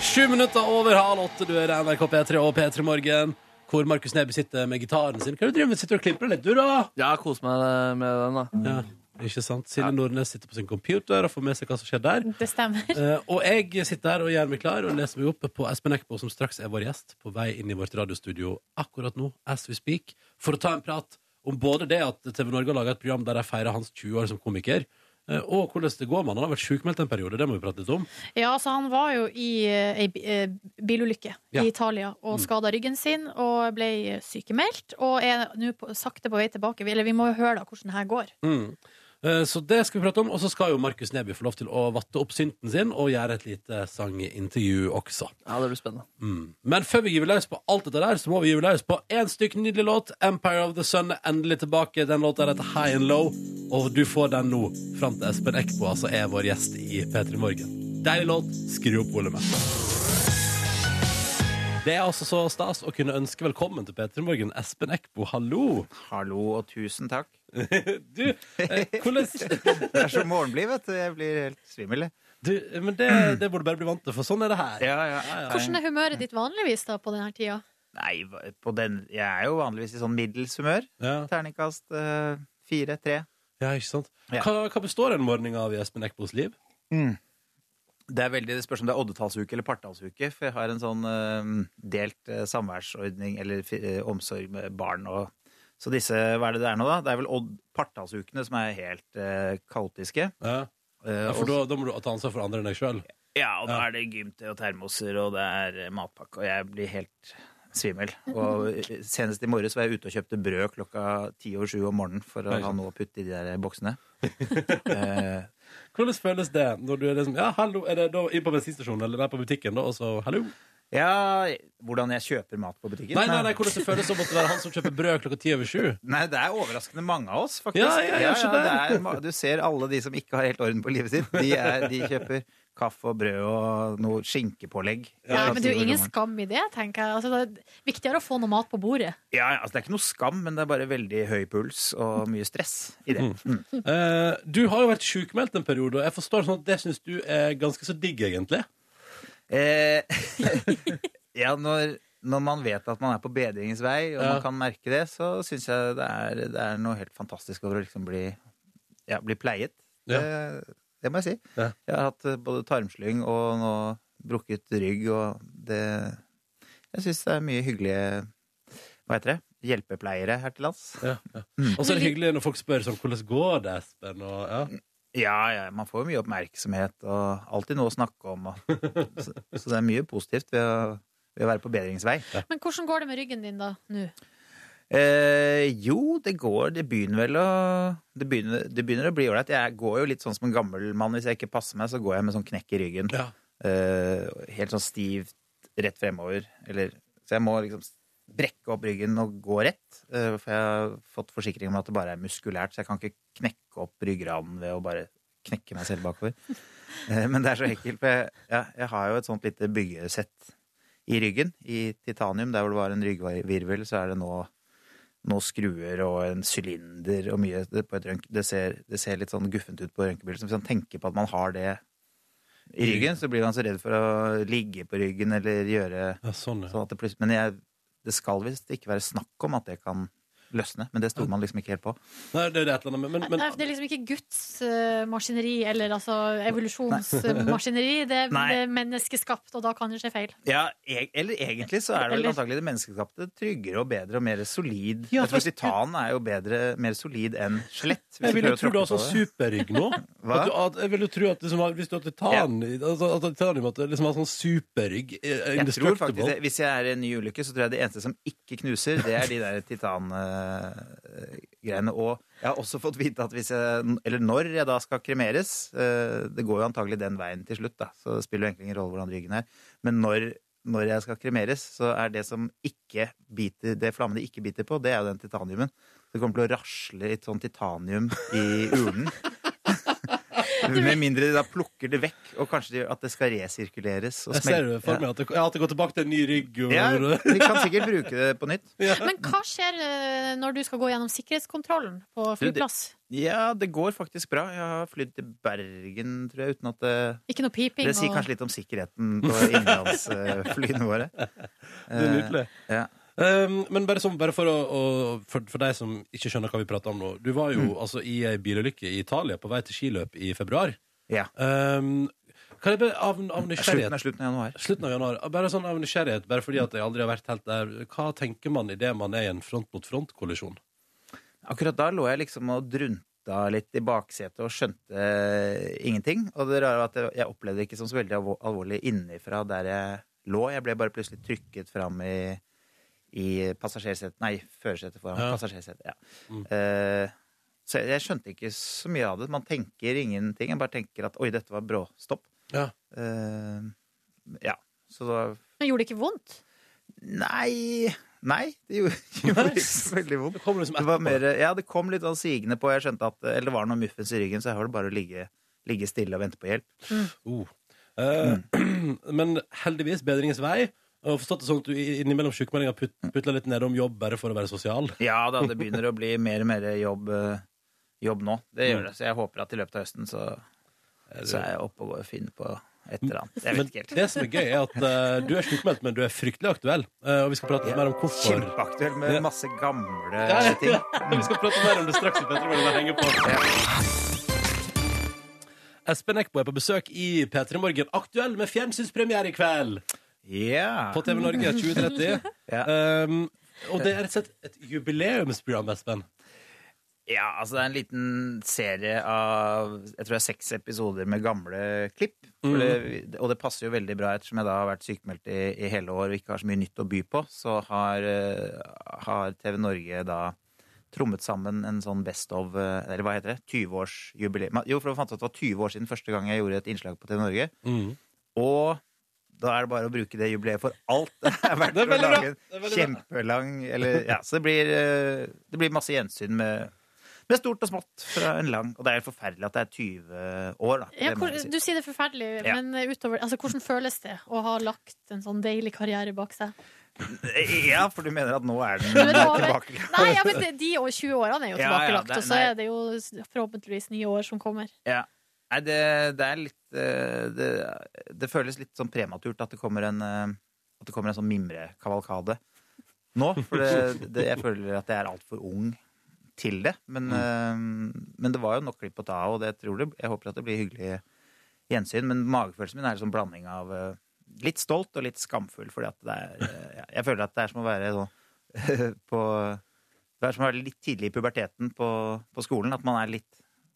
B: Sju minutter over halv åtte. Du er i NRK P3 og P3 Morgen, hvor Markus Neby sitter med gitaren sin. Hva er det du driver med? Sitter du og klipper litt, du, da?
D: Ja, kos meg eh, med den, da.
B: Ja, ikke sant? Silje Nordnes sitter på sin computer og får med seg hva som skjer der.
C: Det stemmer.
B: Eh, og jeg sitter her og gjør meg klar og leser meg opp på Espen Eckbo, som straks er vår gjest, på vei inn i vårt radiostudio akkurat nå, as we speak, for å ta en prat om både det at TV Norge har laga et program der de feirer hans 20 år som komiker, eh, og hvordan det går med han. Han har vært sjukmeldt en periode, det må vi prate litt om.
C: Ja, så Han var jo i eh, ei bi- eh, bilulykke
B: Ja.
C: i Italia og skada ryggen sin og ble sykemeldt. Og er nå på- sakte på vei tilbake. Vi- Eller vi må jo høre da hvordan det her går.
B: Eh, Så det skal vi prate om, og så skal jo Markus Neby få lov til å vatte opp synten sin og gjøre et lite sangintervju også.
D: Ja, Det blir spennende.
B: Mm. Men før vi gyver løs på alt dette der, så må vi gyve løs på én stykk nydelig låt. 'Empire of the Sun' er endelig tilbake. Den låta heter 'High and Low', og du får den nå fram til Espen Eckbo, altså er vår gjest i P3 Morgen. Deilig låt. Skru opp volumet. Det er altså så stas å kunne ønske velkommen til P3 Morgen. Espen Eckbo, hallo.
G: Hallo og tusen takk.
B: Du, eh, hvordan
G: Det er så morgenblid, vet du. Jeg blir helt svimmel. jeg.
B: du, Men det, det må du bare bli vant til, for sånn er det her.
C: Hvordan er humøret ditt vanligvis da på denne tida?
G: Nei, hva- på den Jeg er jo vanligvis i sånn middels humør.
B: Ja,
G: Terningkast eh, fire, tre.
B: ja ikke sant?
G: Ja.
B: Hva, hva består en morgen av i Espen Eckbos liv?
G: Det er veldig, det spørs om det er oddetallsuke eller partallsuke, for jeg har en sånn eh, delt eh, samværsordning eller fi- eh, omsorg med barn og Så disse, hva er det det er nå, da? Det er vel Odd Partdalsukene som er helt eh, kaotiske.
B: Ja.
G: Eh,
B: Ja, for
G: og-
B: da, da må du ta ansvar for andre enn deg sjøl.
G: Ja, og da
B: Ja.
G: er det gymte og termoser, og det er eh, matpakke, og jeg blir helt svimmel. Og eh, senest i morges var jeg ute og kjøpte brød klokka ti over sju om morgenen for å
B: Oi.
G: ha noe å putte i de der boksene. Eh,
B: Hvordan føles det når du er liksom Ja, hallo, er det da inn på bensinstasjonen eller der på butikken, da, og så hallo?
G: ja, hvordan jeg kjøper mat på butikken? eh,
B: Nei, nei, nei, hvordan det føles som å måtte være han som kjøper brød klokka ti over sju?
G: Nei, det er overraskende mange av oss, faktisk.
B: Ja, ja, jeg skjønner.
G: det er, ma- du ser alle de som ikke har helt orden på livet sitt. De, er, de kjøper kaffe og brød og noe skinkepålegg. Sånn
C: Ja,
G: Klokka
C: men det er
G: ti
C: jo
G: over
C: ingen
G: morgenen.
C: skam i det, tenker jeg. Altså, det er viktigere å få noe mat på bordet.
G: ja, ja, altså, det er ikke noe skam, men det er bare veldig høy puls og mye stress i det. Mm.
B: Eh, du har jo vært sjukmeldt en periode, og jeg forstår sånn at det syns du er ganske så digg, egentlig.
G: Eh, ja, når, når man vet at man er på bedringens vei, og
B: Ja.
G: man kan merke det, så syns jeg det er, det er noe helt fantastisk over å liksom bli, ja, bli pleiet.
B: Ja.
G: Det, det må jeg si.
B: Ja.
G: Jeg har hatt eh, både tarmslyng og nå brukket rygg, og det Jeg syns det er mye hyggelige Hva heter det? Hjelpepleiere her til lands.
B: Ja, ja. Mm. Og så er det hyggelig når folk spør sånn hvordan går det, Espen? Og, ja.
G: Ja, ja, man får jo mye oppmerksomhet, og alltid noe å snakke om. Og, så, så det er mye positivt ved å, ved å være på bedringens vei.
C: Men hvordan går det med ryggen din da, nå?
G: Eh, jo, det går. Det begynner vel å Det begynner, det begynner å bli ålreit. Jeg går jo litt sånn som en gammel mann. Hvis jeg ikke passer meg, så går jeg med sånn knekk i ryggen.
B: Ja.
G: Eh, helt sånn stivt rett fremover. Eller Så jeg må liksom brekke opp ryggen og gå rett. Eh, for jeg har fått forsikring om at det bare er muskulært, så jeg kan ikke knekke opp ryggraden ved å bare knekke meg selv bakover. Eh, men det er så ekkelt. For jeg, ja, jeg har jo et sånt lite byggesett i ryggen. I titanium, der hvor det var en ryggvirvel, så er det nå noen skruer og en sylinder og mye det, på et rønk, det, ser, det ser litt sånn guffent ut på røntgenbildet. så Hvis man tenker på at man har det i ryggen, så blir man så redd for å ligge på ryggen eller gjøre
B: ja, sånn, ja.
G: sånn at det plutselig Men jeg, det skal visst ikke være snakk om at det kan løsne. Men det sto man liksom ikke helt på.
B: Nei, det er det et eller annet, men, men,
C: Nei, det er liksom ikke Guds eh, maskineri, eller altså evolusjonsmaskineri. Det, det
G: Nei.
C: er menneskeskapt, og da kan det skje feil.
G: Ja, e eller egentlig så er det vel
C: Eller-
G: antakelig det menneskeskapte tryggere og bedre og mer solid.
B: Ja,
G: jeg tror
B: for-
G: titan er jo bedre, mer solid enn skjelett. hvis
B: Jeg
G: du
B: vil jo
G: prøver å
B: tro du har
G: tråkke
B: sånn
G: på det.
B: superrygg nå.
G: Hva?
B: At du, at, jeg vil jo tro at liksom, hvis du har titan altså, At titanium at det liksom har sånn superrygg eh,
G: Jeg tror faktisk,
B: indestructible.
G: det- Hvis jeg er i en ny ulykke, så tror jeg det eneste som ikke knuser, det er de der titangreiene. Og jeg har også fått vite at hvis jeg, eller når jeg da skal kremeres eh, Det går jo antagelig den veien til slutt, da, så det spiller jo egentlig ingen rolle hvordan ryggen er. Men når, når jeg skal kremeres, så er det som ikke biter, det flammene ikke biter på, det er jo den titaniumen. Det kommer til å rasle litt sånn titanium i urnen. Med mindre de da plukker det vekk, og kanskje de, at det skal resirkuleres. Og
B: Jeg ser
G: smelte.
B: det for meg at det, ja, at det går tilbake til en ny rygg. Og,
G: Ja, vi kan sikkert bruke det på nytt.
C: Men hva skjer eh, når du skal gå gjennom sikkerhetskontrollen på
G: Du, det-
C: flyplass?
G: Ja, det går faktisk bra. Jeg har flydd til Bergen, tror jeg, uten at det
C: Ikke noe piping?
G: Det sier
C: og-
G: kanskje litt om sikkerheten på innenlandsflyene våre.
B: det
G: Eh.
B: er nydelig.
G: Ja.
B: Um, men bare, som, bare for, å, å, for, for deg som ikke skjønner hva vi prater om nå. Du var
G: Mm.
B: jo altså i ei bilulykke i Italia på vei til skiløp i februar.
G: ja.
B: Um, kan jeg bare av, av
G: Slutten
B: nysgjerrighet
G: er slutten av januar.
B: Slutten av januar. Bare sånn av nysgjerrighet, bare fordi at jeg aldri har vært helt der. Hva tenker man idet man er i en front mot front-kollisjon?
G: Akkurat da lå jeg liksom og drunta litt i baksetet og skjønte eh, ingenting. Og det rare var at jeg- jeg opplevde det ikke som så veldig alvor- alvorlig innifra der jeg lå. Jeg ble bare plutselig trykket fram i, i passasjersetet Nei, førersetet foran.
B: Ja.
G: Passasjersetet, ja. Eh, så jeg, jeg skjønte ikke så mye av det. Man tenker ingenting. Jeg bare tenker at oi, dette var bråstopp.
B: Ja.
G: Eh, ja. Så da
C: Men gjorde det ikke vondt?
G: Nei. Nei, det gjorde, gjorde ikke så veldig vondt.
B: Det kommer liksom
G: Det var
B: etterpå.
G: mer, ja, det kom litt sånn sigende på. Jeg skjønte at Eller det var noe muffens i ryggen, så jeg var det bare å ligge, ligge stille og vente på hjelp.
B: Oh. Eh, Men heldigvis bedringens vei. Og forstått det sånn at du i- innimellom sykemeldinga put, putla litt ned om jobb bare for å være sosial.
G: Ja da, det begynner å bli mer og mer jobb, eh, jobb nå. Det gjør det. Så jeg håper at i løpet av høsten så, så er jeg oppe og går og finner på et eller annet. Jeg
B: Men
G: vet ikke helt.
B: det som er gøy, er at eh, du er sykemeldt, men du er fryktelig aktuell. Eh, og vi skal prate mer om hvorfor.
G: Kjempeaktuell med masse gamle
B: Ja, ja,
G: ting.
B: ja. Vi skal prate mer om det straks. Petter, men bare henge på. Espen Eckbo er på besøk i P3 Morgen, aktuell med fjernsynspremiere i kveld.
G: Ja.
B: På TV Norge 2030.
G: Ja.
B: Um, Og det er rett og slett et jubileumsprogram, Espen.
G: Ja, altså det er en liten serie av jeg tror det er seks episoder med gamle klipp. For det, og det passer jo veldig bra ettersom jeg da har vært sykemeldt i, i hele år og ikke har så mye nytt å by på. Så har, eh, har TV Norge da trommet sammen en sånn best of eh, Eller hva heter det? 20-årsjubileum. Jo, for jeg fant ut at det var 20 år siden første gang jeg gjorde et innslag på TV Norge. Og da er det bare å bruke det jubileet for alt. Det er verdt
B: Det er
G: å
B: veldig bra. Det er
G: lage en
B: veldig bra.
G: kjempelang eller, ja, Så det blir, eh, det blir masse gjensyn med, med stort og smått fra en lang Og det er forferdelig at det er 20 år, da.
C: Ja,
G: Det må
C: hvor,
G: jeg si.
C: du sier det er forferdelig,
G: Ja.
C: men utover, altså, hvordan føles det å ha lagt en sånn deilig karriere bak seg?
G: ja, for du mener at nå er den
C: Nå er det over.
G: tilbake?
C: Nei, ja, men det- de år- 20 årene er jo
G: Ja, ja,
C: tilbakelagt,
G: det-
C: og så
G: nei.
C: er det jo s- forhåpentligvis nye år som kommer.
G: Ja. Nei, det, det er litt eh, det, det føles litt sånn prematurt at det kommer en, eh, at det kommer en sånn mimrekavalkade nå. For det, det, jeg føler at jeg er altfor ung til det. Men, eh, men det var jo nok klipp å ta av, og det tror jeg, jeg håper at det blir hyggelig gjensyn. Men magefølelsen min er en sånn blanding av eh, litt stolt og litt skamfull. Fordi at det er eh, ja, Jeg føler at det er som å være sånn på Det er som å være litt tidlig i puberteten på, på skolen. At man er litt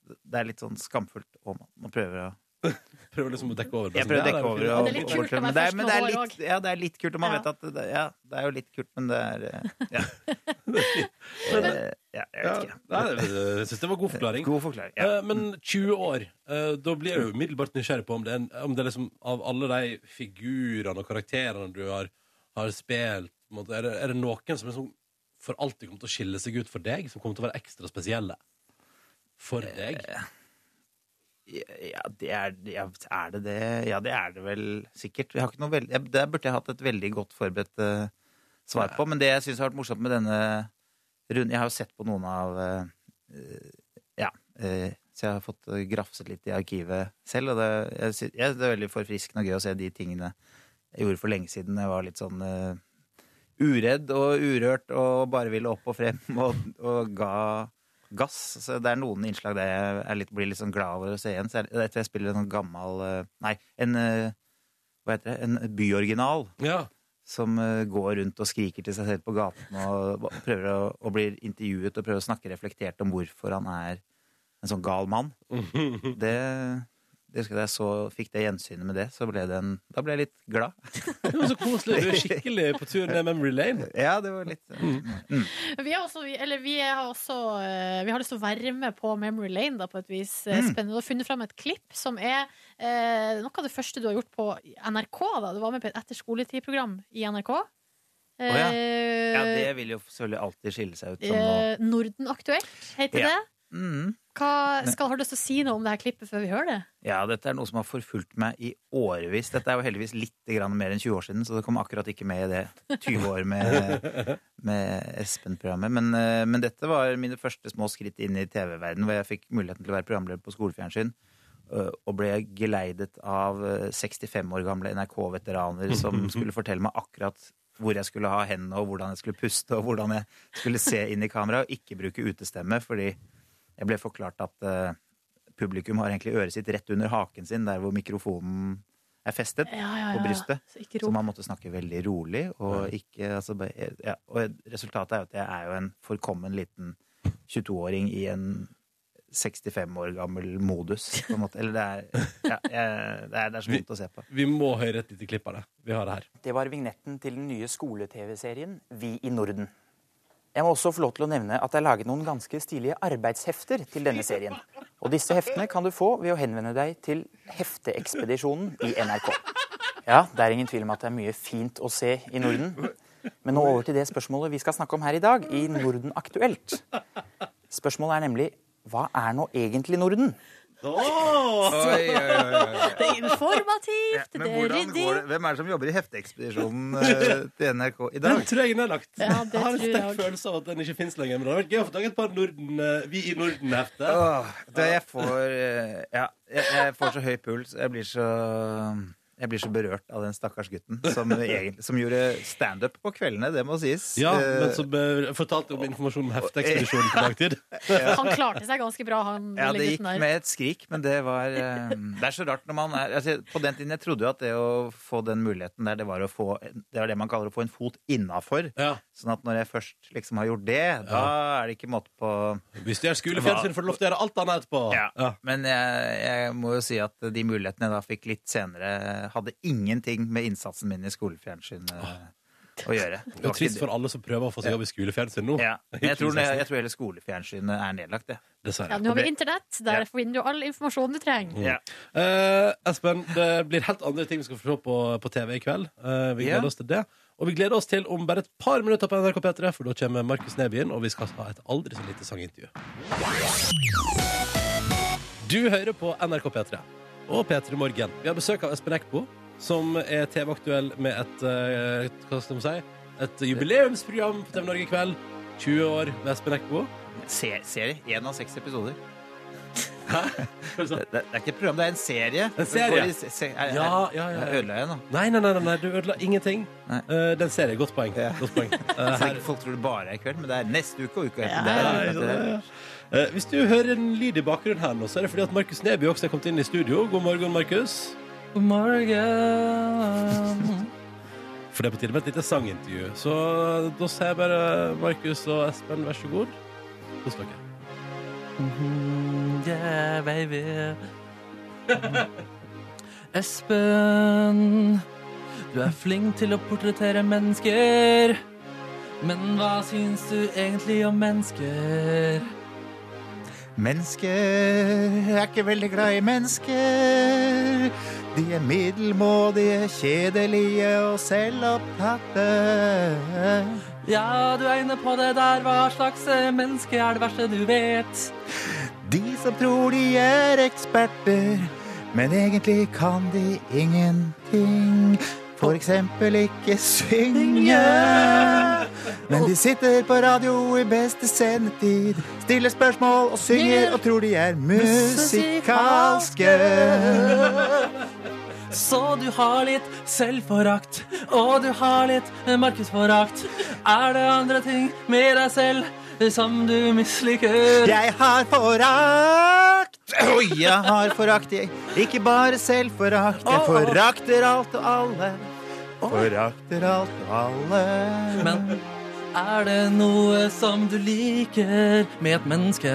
G: det er litt sånn skamfullt. Og man, man prøver å
B: Prøver liksom å dekke over.
G: Jeg prøver å dekke over. Og,
C: Det er litt kult å være
G: men
C: først
G: det er, men det er
C: med hår
G: litt, ja, det er litt kult. Og man
C: Ja.
G: vet at det, ja, det er jo litt kult, men det er eh, Ja. Eh, ja jeg vet ikke.
B: Nei, jeg syns det var god forklaring.
G: God forklaring. Ja.
B: Eh, Men 20 år, eh, da blir jeg jo umiddelbart nysgjerrig på om det, er en, om det er liksom av alle de figurene og karakterene du har, har spilt, på en måte, er det, er det noen som liksom for alltid kommer til å skille seg ut for deg, som kommer til å være ekstra spesielle? For deg?
G: Eh. Ja, det er, ja, er det det? Ja, det er det vel sikkert. Jeg har ikke noe veld... jeg, der burde jeg hatt et veldig godt forberedt eh, svar på. Men det jeg syns har vært morsomt med denne runden Jeg har jo sett på noen av eh, eh, Ja. eh, så jeg har fått eh, grafset litt i arkivet selv, og det, jeg sy- jeg, det er veldig forfriskende og gøy å se de tingene jeg gjorde for lenge siden. Jeg var litt sånn eh, uredd og urørt og bare ville opp og frem og, og ga gass. Så det er noen innslag der jeg er litt, blir litt sånn glad over å se igjen. Så er det etter jeg spiller en sånn gammel eh, Nei, en eh, hva heter det? En byoriginal
B: Ja.
G: som eh, går rundt og skriker til seg selv på gaten og prøver å og blir intervjuet og prøver å snakke reflektert om hvorfor han er en sånn gal mann. Det, det husker jeg da jeg så, fikk det gjensynet med det, så ble det en Da ble jeg litt glad.
B: Det var så koselig. Du er skikkelig på tur ned Memory Lane.
G: Ja, det var litt eh,
C: Men Vi, er også, vi- eller vi, er også, eh, vi har lyst til å være med på Memory Lane, da, på et vis.
G: Mm.
C: Eh, Spennende. Du har funnet fram et klipp som er eh, noe av det første du har gjort på NRK. Da. Du var med på et etterskoletid-program i NRK. Eh,
G: Å ja. Ja, det vil jo selvfølgelig alltid skille seg ut som noe
C: eh, Norden Aktuelt heter
G: Ja.
C: det.
G: mm.
C: Hva, skal, har du lyst til å si noe om det her klippet før vi hører det?
G: Ja, dette er noe som har forfulgt meg i årevis. Dette er jo heldigvis litt grann mer enn 20 år siden, så det kom akkurat ikke med i det 20 år med, med Espen-programmet. Men, eh, men dette var mine første små skritt inn i TV-verdenen, hvor jeg fikk muligheten til å være programleder på skolefjernsyn. eh, Og ble geleidet av eh, 65 år gamle NRK-veteraner som skulle fortelle meg akkurat hvor jeg skulle ha hendene, og hvordan jeg skulle puste, og hvordan jeg skulle se inn i kamera, og ikke bruke utestemme, fordi jeg ble forklart at eh, publikum har egentlig øret sitt rett under haken sin, der hvor mikrofonen er festet
C: Ja, ja, ja.
G: på brystet.
C: Så ikke
G: Så
C: rop.
G: man måtte snakke veldig rolig. Og, ikke, altså, bare- ja, og resultatet er jo at jeg er jo en forkommen liten 22-åring i en 65 år gammel modus, på en måte. Eller det er, ja, jeg, det er, det er så vondt å se på.
B: Vi må høre et lite klipp av det. Vi har det her.
H: Det var vignetten til den nye skole-TV-serien Vi i Norden. Jeg må også få lov til å nevne at det er laget noen ganske stilige arbeidshefter til denne serien. Og disse heftene kan du få ved å henvende deg til Hefteekspedisjonen i NRK. Ja, det er ingen tvil om at det er mye fint å se i Norden. Men nå over til det spørsmålet vi skal snakke om her i dag, i Norden aktuelt. Spørsmålet er nemlig hva er nå egentlig Norden?
C: Det er informativt, det er ryddig.
G: Hvem er det som jobber i hefteekspedisjonen eh, til NRK i
B: Den tror jeg den er lagt.
C: Ja, det
B: jeg har en
C: tror jeg
B: sterk
C: også.
B: følelse av at den ikke fins lenger. Men det hadde vært gøy å få tak i et par Norden, eh, Vi i Norden-hefter.
G: Åh, det, jeg, får, eh, ja, jeg, jeg får så høy puls. Jeg blir så jeg, Jeg blir så berørt av den stakkars gutten som, egentlig, som gjorde standup på kveldene, det må sies.
B: Ja,
G: Eh,
B: men som eh, fortalte om informasjon om hefteekspedisjonen på dagtid.
C: Han klarte seg ganske bra, han
G: ja,
C: lille
G: det gikk
C: gutten der.
G: med et skrik, men det var eh, Det er så rart når man er altså, På den tiden jeg trodde jo at det å få den muligheten der, det var å få Det er det man kaller å få en fot innafor.
B: Ja.
G: Sånn at når jeg først liksom har gjort det, da er det ikke måte på
B: Hvis du gjør skolefjernsyn, får du lov til å gjøre alt annet etterpå.
G: ja.
B: Ja.
G: Men jeg, jeg må jo si at de mulighetene jeg da fikk litt senere, hadde ingenting med innsatsen min i skolefjernsyn eh, å gjøre. Det
B: Ah. Det er
G: var
B: jo trist
G: ikke-
B: for alle som prøver å få seg jobb i skolefjernsyn nå.
G: ja. Men jeg, tror,
B: altså.
G: jeg, jeg tror hele skolefjernsynet er nedlagt, det.
C: Ja,
B: Dessverre.
C: nå har vi internett, der finner du all informasjon du trenger.
G: Ja.
B: Eh, Espen, det blir helt andre ting vi skal få se på, på TV i kveld. Eh, vi
G: Ja.
B: gleder oss til det. Og vi gleder oss til om bare et par minutter på NRK P3, for da kommer Markus Neby inn, og vi skal ha et aldri så lite sangintervju. Du hører på NRK P3 og P3 Morgen. Vi har besøk av Espen Eckbo, som er TV-aktuell med et, eh, hva skal man si, et jubileumsprogram på TV Norge i kveld. 20 år med Espen Eckbo.
G: Se- Serie. Én av seks episoder. Det, det er ikke et program, det er en serie.
B: En serie.
G: Går i se- se- er-
B: Ja,
G: er-
B: ja, ja.
G: er- Ødela jeg nå?
B: Nei, nei, nei, nei, nei, du ødela ingenting.
G: Nei.
B: Eh, den ser jeg. Godt poeng.
G: Ja.
B: Godt poeng. Eh,
G: Så
B: her,
G: ikke folk tror det bare er i kveld, men det er neste uke og uka
C: Ja,
G: etter der,
B: ja,
G: etter der.
B: ja, ja. Eh, hvis du hører en lyd i bakgrunnen her nå, så er det fordi at Markus Neby også er kommet inn i studio. God morgen, Markus.
D: God morgen.
B: For det er på tide med et lite sangintervju. Så eh, da sier jeg bare Markus og Espen, vær så god. Kos dere.
D: Mhm, Yeah, baby. Espen, du er flink til å portrettere mennesker. Men hva syns du egentlig om mennesker?
G: Mennesker er ikke veldig glad i mennesker. De er middelmådige, kjedelige og selvopptatte.
D: Ja, du er inne på det der. Hva slags eh, menneske er det verste du vet?
G: De som tror de er eksperter, men egentlig kan de ingenting. For eksempel ikke synge. Men de sitter på radio i beste sendetid, stiller spørsmål og synger og tror de er musikalske.
D: Så du har litt selvforakt, og du har litt eh, markedsforakt. Er det andre ting med deg selv som du misliker?
G: Jeg har forakt! Oi, jeg har forakt. Jeg. Ikke bare selvforakt. Jeg
D: Åh.
G: forakter alt og alle. Forakter alt og alle.
D: Men er det noe som du liker med et menneske?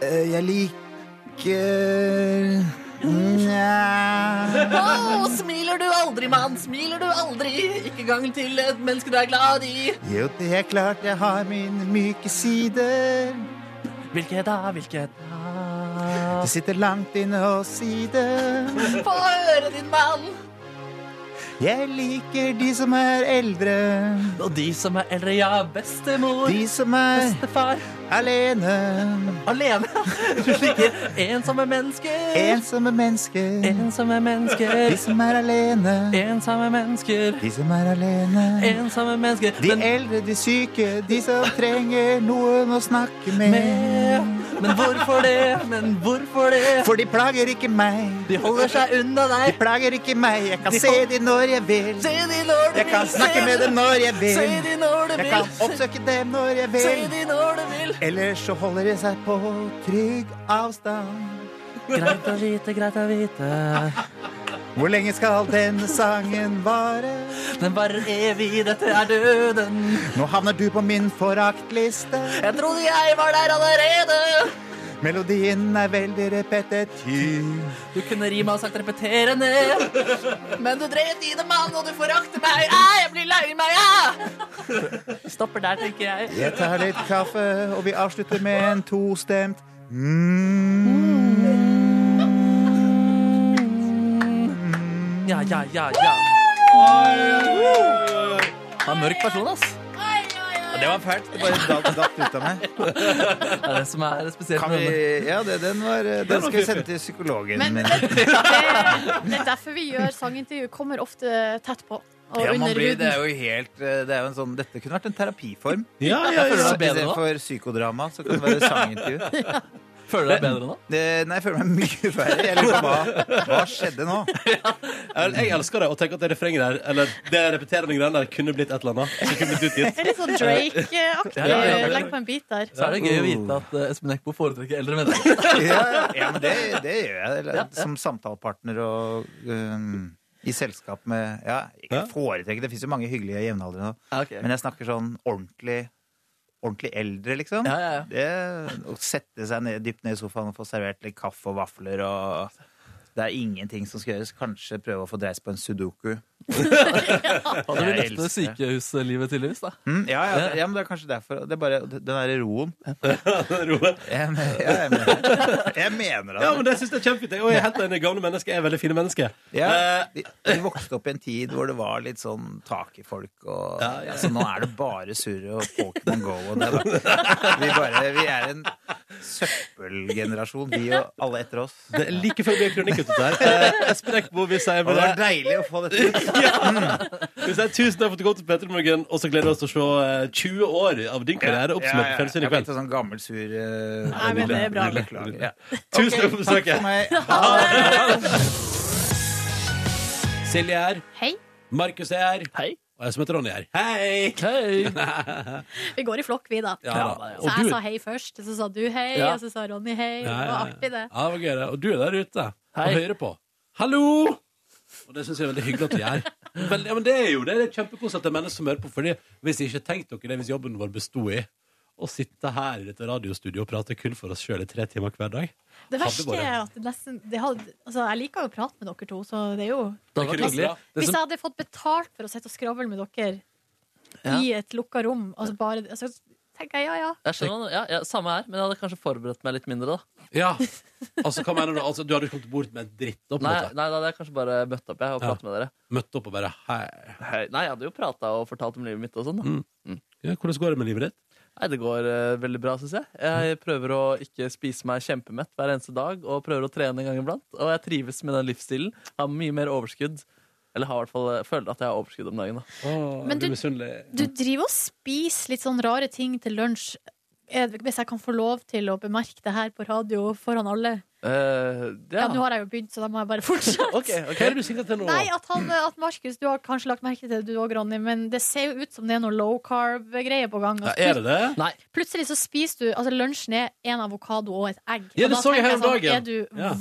G: Eh, jeg liker Nja
D: smiler du aldri, mann? Smiler du aldri? Ikke gang til et menneske du er glad i.
G: Jo, det er klart jeg har mine myke sider.
D: Hvilket da? Hvilket da?
G: Det sitter langt inne hos sider.
D: Få høre, din mann.
G: Jeg liker de som er eldre.
D: Og de som er eldre, ja, bestemor,
G: De som er
D: bestefar.
G: alene.
D: Alene. Du liker ensomme mennesker.
G: Ensomme mennesker.
D: Ensomme
G: De
D: mennesker.
G: som er alene.
D: Ensomme mennesker.
G: De som er alene.
D: Ensomme mennesker.
G: De
D: Men,
G: eldre, de syke, de som trenger noen å snakke med.
D: men hvorfor det? Men hvorfor det?
G: For de plager ikke meg.
D: De holder seg unna
G: De
D: deg.
G: plager ikke meg. Jeg kan se de når jeg vil.
D: Se de når du
G: Jeg kan
D: vil.
G: snakke
D: Se
G: med dem når jeg
D: Se
G: vil.
D: de når du
G: Jeg
D: vil.
G: kan oppsøke dem når jeg
D: Se
G: vil.
D: de når du vil.
G: Ellers så holder de seg på trygg avstand.
D: Greit å vite, greit å vite.
G: Hvor lenge skal denne sangen vare?
D: Den varer evig, dette er døden.
G: Nå havner du på min foraktliste.
D: Jeg trodde jeg var der allerede.
G: Melodien er veldig repetitiv.
D: Du kunne rima og sagt repeterende. Men du dret i det, mann, og du forakter meg. Ah, jeg blir lei meg, ah! Stopper der, tenker jeg.
G: Jeg tar litt kaffe, og vi avslutter med en tostemt mm.
D: Ja, ja, ja, ja. Han er mørk person, ass.
G: Det var fælt. Det bare datt, datt ut av meg.
D: Det er det som er spesielt
G: Kan
D: med
G: vi,
D: denne.
G: ja, det, den, var, eh, den skal vi sende til psykologen.
C: Men
G: min.
C: det, det er derfor vi gjør sangintervju. Kommer ofte tett på. Og
G: ja, man
C: under
G: blir,
C: huden.
G: det er jo helt eh, det er jo en sånn, Dette kunne vært en terapiform.
B: Ja, ja, ja.
D: føler det er bedre nå.
G: Istedenfor psykodrama, så kan det være sangintervju.
D: Føler du deg bedre nå?
G: Det, nei, jeg føler meg mye verre. Jeg lurer på hva, hva skjedde nå?
B: Jeg, jeg elsker det, og tenker at det refrenget der Eller det repeterende greiene der kunne blitt et eller annet. Som kunne blitt utgitt
C: Det er litt sånn Drake-aktig.
D: Ja, ja, ja.
C: Legg på en bit der.
D: Så er det gøy å vite at eh, Espen Eckbo foretrekker eldre mennesker.
G: Ja, ja men det, det gjør jeg. Eller, Som samtalepartner og um, i selskap med Ja,
B: Ja.
G: jeg foretrekker Det fins jo mange hyggelige jevnaldrende, nå.
D: Ja, ok.
G: men jeg snakker sånn ordentlig Ordentlig eldre, liksom.
D: Ja, ja, ja.
G: Det, å sette seg ned, dypt ned i sofaen og få servert litt kaffe og vafler og Det er ingenting som skal gjøres. Kanskje prøve å få dreist på en sudoku.
D: Hadde du levd
G: Jeg
D: det
G: elsker
D: sykehuslivet tydeligvis, da?
G: Mm, ja, ja, ja, men det er kanskje derfor. Det er bare den derre roen.
B: Roen.
G: Jeg, men- ja, jeg, mener- jeg mener det.
B: Ja, men det synes jeg er kjempefint. Og jeg er helt enig. Gamle mennesker er veldig fine mennesker.
G: Ja, de, de vokste opp i en tid hvor det var litt sånn tak i folk. Og, Altså, nå er det bare surre og Pokémon Go og det. Da. Vi, bare, vi er en søppelgenerasjon, vi og alle etter oss.
B: Det er like før det blir kronikk ut av det her. Eh, Espen Eckbo, vi sier
G: Og det
B: bare
G: var deilig å få dette ut.
B: Vi sier tusen takk for at du kom til Petter Morgen, og så gleder vi oss til å se eh, 20 år av din karriere oppsummert på fjernsyn i
G: Jeg ble
B: kveld.
G: litt sånn gammel, sur eh,
C: Nei, men det er bra.
G: Beklager. Ja.
B: Tusen takk for
G: Takk for
B: besøket.
G: meg.
B: Silje er her.
C: Hei.
B: Markus er her.
D: Hei.
B: Og jeg som heter Ronny er her. Hei!
D: Hei.
C: Vi går i flokk, vi, da.
B: Ja, da.
C: Så
B: Og
C: jeg
B: du-
C: sa hei først, og så sa du hei,
D: Ja.
C: og så sa Ronny hei. Det
B: Ja, ja,
C: var
B: ja.
C: artig, det.
B: Ja, det var gøy, det. Og du er der ute
D: Hei.
B: og hører på. Hallo! Og det syns jeg er veldig hyggelig at vi gjør. Vel, ja, men det er jo det. Det er kjempekoselig at det er mennesker som hører på. Fordi hvis jeg ikke tenkte dere det, hvis jobben vår besto i å sitte her i dette radiostudioet og prate kun for oss sjøl i tre timer hver dag Hadde
C: Det verste
B: bare-
C: er at det nesten det hadde, altså, Jeg liker jo å prate med dere to, så det er jo
D: Det hadde vært
B: kunne
D: hyggelig.
B: vært
D: Det
C: Hvis
D: som,
C: jeg hadde fått betalt for å sitte og skravle med dere
D: Ja.
C: i et lukka rom, altså bare altså, tenker jeg ja, ja.
D: jeg skjønner, ja, ja, samme her, men jeg hadde kanskje forberedt meg litt mindre. da
B: Ja. Altså, hva mener du? Altså, du hadde ikke kommet bort med en dritt. Da, på en
D: Nei,
B: måte.
D: nei da hadde jeg kanskje bare møtt opp jeg og
B: Ja.
D: pratet med dere.
B: Møtt opp og bare Hei.
D: Hei. Nei, jeg hadde jo prata og fortalt om livet mitt og sånn. da
B: Ja, hvordan går det med livet ditt?
D: Nei, Det går eh, veldig bra, syns jeg. Jeg prøver å ikke spise meg kjempemett hver eneste dag, og prøver å trene en gang iblant. Og jeg trives med den livsstilen. Har mye mer overskudd. Eller har i hvert fall eh, føler at jeg har overskudd om dagen. da
B: Å,
C: Men
B: er
C: du-
B: misunnelig?
C: Du driver og spiser litt sånn rare ting til lunsj. Er det- Hvis jeg kan få lov til å bemerke det her på radio foran alle.
D: Eh,
C: Ja,
D: ja.
C: Nå har jeg jo begynt, så da må jeg bare fortsette.
D: Ok, ok.
B: Hva er det du sikter til nå?
C: Nei, at, han, at Markus, du har kanskje lagt merke til det du òg, Ronny, men det ser jo ut som det er noe low carb-greier på gang.
B: Ja,
C: Altså,
B: er det det?
D: Nei.
C: Plutselig så spiser du Altså lunsjen er en avokado og et egg.
B: Ja, det
C: Og da
B: så jeg
C: tenker
B: her om
C: sånn,
B: dagen.
C: Er du
B: Ja.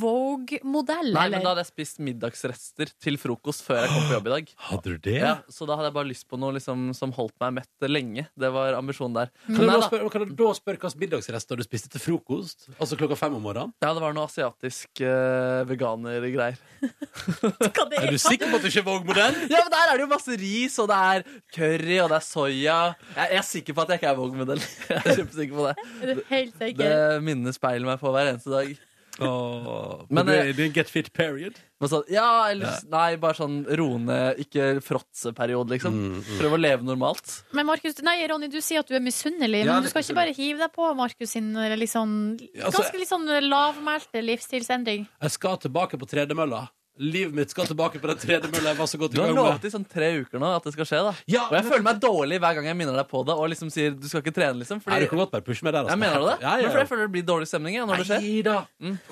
C: Vogue-modell,
D: Nei, men da
C: eller?
D: hadde jeg spist middagsrester til frokost før jeg kom på jobb i dag.
B: Hadde du det?
D: Ja, så da hadde jeg bare lyst på noe liksom, som holdt meg mett lenge. Det var ambisjonen der.
B: Kan
D: Mm. Men
B: du
D: nei,
B: da
D: da.
B: spørre, kan du da spørre hvilke middagsrester du spiste til frokost? Altså klokka fem om morgenen?
D: Ja, det var noe asiatisk eh, veganergreier.
C: Hva det
B: Er du sikker på at du ikke er Vogue-modell?
D: Ja, men der er det jo masse ris, og det er curry, og det er soya. Jeg, jeg er sikker på at jeg ikke er Vogue-modell. Jeg er kjempesikker på det.
C: Er du helt
D: Det
C: sikker?
D: minnet speiler meg på hver eneste dag.
B: Men
D: Men
B: du er
D: det-
B: i din get fit period?
D: Men sånn, ja, eller nei, bare sånn roende, ikke fråtseperiode, liksom. Prøve å leve normalt.
C: Men Markus, nei, Ronny, du sier at du er misunnelig,
G: Ja,
C: men du
G: litt
C: skal ikke bare hive deg på Markus sin eh, litt sånn-
B: altså-
C: ganske litt sånn lavmælte livsstilsendring.
B: Jeg skal tilbake på tredemølla. Livet mitt skal tilbake på den tredemølla jeg var så godt i
D: Du har
B: gang
D: lovet
B: med.
D: i sånn tre uker nå at det skal skje, da.
B: Ja,
D: og jeg føler meg dårlig hver gang jeg minner deg på det, og liksom sier du skal ikke trene, liksom.
B: Nei,
D: Fordi
B: du kan godt bare pushe meg der. altså.
D: jeg mener du det?
B: Ja,
D: Men fordi
B: ja,
D: jeg føler det blir dårlig stemning jeg, når det
B: ja.
D: skjer.
B: Nei da.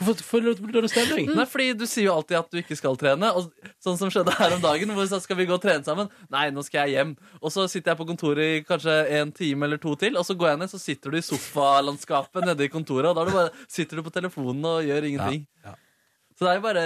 B: Hvorfor føler du at det blir dårlig stemning?
D: Nei, fordi Du sier jo alltid at du ikke skal trene. Og sånn som skjedde her om dagen. Hvor vi sa, skal vi gå og trene sammen? Nei, nå skal jeg hjem. Og så sitter jeg på kontoret i kanskje en time eller to til, og så går jeg ned, så sitter du i sofalandskapet nede i kontoret, og da er du bare, sitter du på telefonen og gjør ingenting.
B: Ja, ja.
D: Så det er jo bare